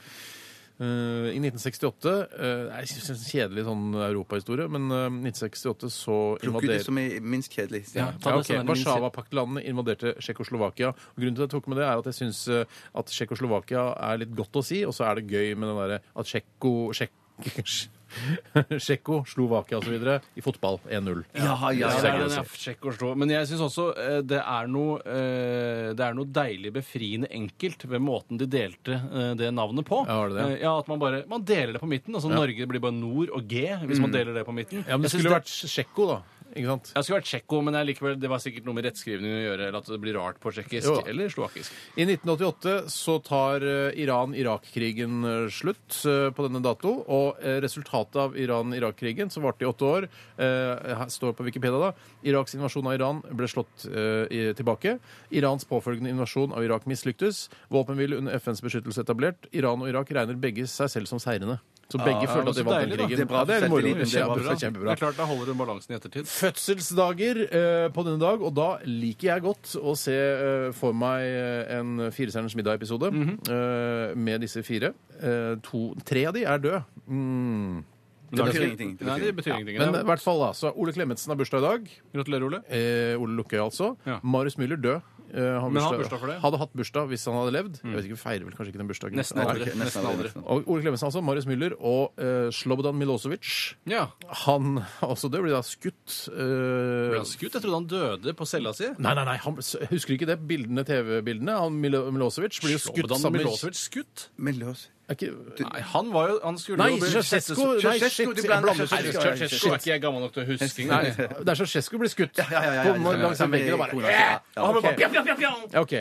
Eh, I 1968 eh, Jeg synes det er en kjedelig sånn europahistorie, men eh, 1968 så
Plukk ut
invaderer
det som er minst kjedelig.
Ja,
Ja.
ja,
det
ok.
som en minst-
Warszawapaktlandene invaderte Tsjekkoslovakia. Og Grunnen til at jeg tok med det, er at jeg syns eh, at Tsjekkoslovakia er litt godt å si, og så er det gøy med den derre at Tsjekko Tsjekk... *laughs* Tsjekko, Slovakia osv. i fotball 1-0.
Ja, ja,
Ja,
ja,
det er
ja.
den jeg sjekker og slår. Men jeg syns også eh, det er, noe, eh, det er noe deilig befriende enkelt ved måten de delte eh, det navnet på.
Ja, var det det?
Eh, ja, at man bare man deler det på midten. Altså Norge blir bare nord og G hvis
Mm.
man deler det på midten.
Ja, men det
Jeg synes
skulle vært Tsjekko, da. Ikke sant?
jeg skulle vært tsjekko, men jeg likevel, det var sikkert noe med rettskrivningen å gjøre. Eller at det blir rart på tsjekkisk
Jo.
eller slovakisk.
I 1988 så tar eh, Iran-Irak-krigen eh, slutt eh, på denne dato, og eh, resultatet av Iran-Irak-krigen, som varte i åtte år, eh, her står på Wikipedia da, Iraks invasjon av Iran ble slått eh, i- tilbake. Irans påfølgende invasjon av Irak mislyktes. Våpenhvile under FNs beskyttelse etablert. Iran og Irak regner begge seg selv som seirende. Så begge
ja,
følte at
så
de vant
deilig,
den
da.
krigen.
Det er bra
ja, det er
for
moro.
selvtilliten, det er bra.
Kjempebra.
Det
kjempebra.
er klart, Da holder hun balansen i ettertid.
Fødselsdager eh, på denne dag, og da liker jeg godt å se eh, for meg eh, en Firestjerners middag-episode
Mhm.
eh, med disse fire. Eh, to, tre av de er døde. Mm.
Det betyr ingenting.
Nei, det
Det betyr ingenting.
betyr ingenting.
Men eh,
Det
i
er-
hvert fall da, så Ole Klemetsen har bursdag i dag.
Gratulerer, Ole.
Eh, Ole Lukkøy, altså.
Ja.
Marius Müller død Eh, har
Men han har bursdag for det. Mm.
Hadde hatt bursdag hvis han hadde levd. Jeg vet ikke, Vi feirer vel kanskje ikke den bursdagen.
Nesten aldri.
Nei.
Nesten Nesten aldri. aldri.
Og Ole Klemetsen, altså. Marius Müller og eh, Slobodan Milosevic.
Ja.
Han også død, ble da skutt. eh,
Ble han skutt? Jeg trodde han dødde på cella si.
Nei, nei, nei, han, s- husker du ikke det? Bildene, TV-bildene. Han Milo- Milosevic blir jo skutt
Slobodan
sammen
Milosevic skutt?
Er ikke...
Nei, han var jo Han skulle
Nei,
jo bli-
Ceausescu! Nei, shit,
Ceausescu, du
jeg
blander
blander
Ceausescu.
Ceausescu.
Ceausescu er ikke jeg gammel nok til å huske.
Nei, det er Ceausescu blir skutt.
ja, ja,
På-
ja,
langs
ja,
den veggen og bare
ja,
"Eh!"
ja,
Og han bare,
ja,
"Pjapp,
ja,
pjapp,
ja,
pjapp.
ja."
OK.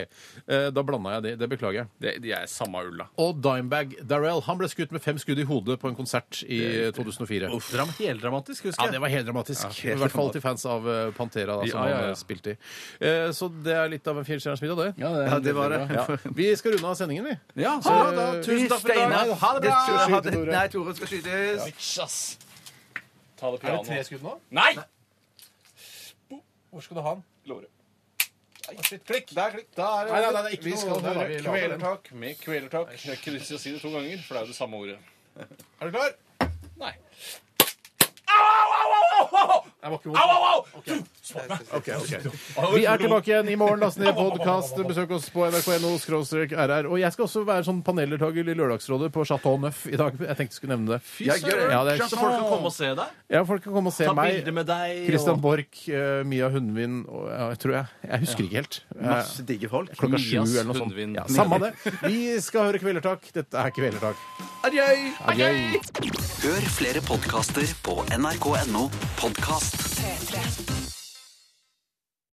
Eh, Da blanda jeg det. Det beklager jeg.
Det, de er samme ulla.
Og Dimebag Darrell. Han ble skutt med fem skudd i hodet på en konsert i 2004.
Dram, heldramatisk, husker
Ja,
jeg.
det var helt dramatisk.
helt
I hvert fall til fans av eh, Pantera, da, som
Ja, ja, ja.
han eh, spilte i. Eh, Så det er litt av en firestjerners middag, det.
det er Ja, det var det. veldig bra.
Ja. Vi skal runde av sendingen, vi.
Ja,
så- Tusen takk for i dag.
Steinar,
Ha det bra.
skal
Skyte,
skyte,
Tore.
Nei, Tore skal skytes.
Ta det
Er det tre skudd nå?
Nei!
Hvor skal du ha den?
Låret. Klikk! Der, klikk.
Nei, nei, nei, det er ikke noe- der er vi-
Kvelertak med kvelertak. Jeg er ikke lyst til å si det to ganger, for det er jo det samme ordet.
Er du klar?
Nei.
Au, au,
au!
Vi er tilbake igjen i morgen. Last ned podkast. Besøk oss på nrk.no rr. Og jeg skal også være sånn paneldeltaker i Lørdagsrådet på Chateau Neuf i dag. Jeg tenkte jeg skulle nevne det.
Ja, gjør det.
Ja, det er-
Så folk kan komme og se deg.
Ja, folk kan komme og se
Ta
meg.
bilder med deg,
Christian
og-
Borch, eh, Mia Hundvin og ja, jeg tror jeg. Jeg husker ikke helt. Eh,
Masse digge folk.
Klokka sju
Mias
eller noe sånt.
Hundvin.
Ja, samme det. Vi skal høre Kvelertak. Dette er Kvelertak.
Adjø.
Adjø.
Hør flere podkaster på nrk.no podkast.
P3.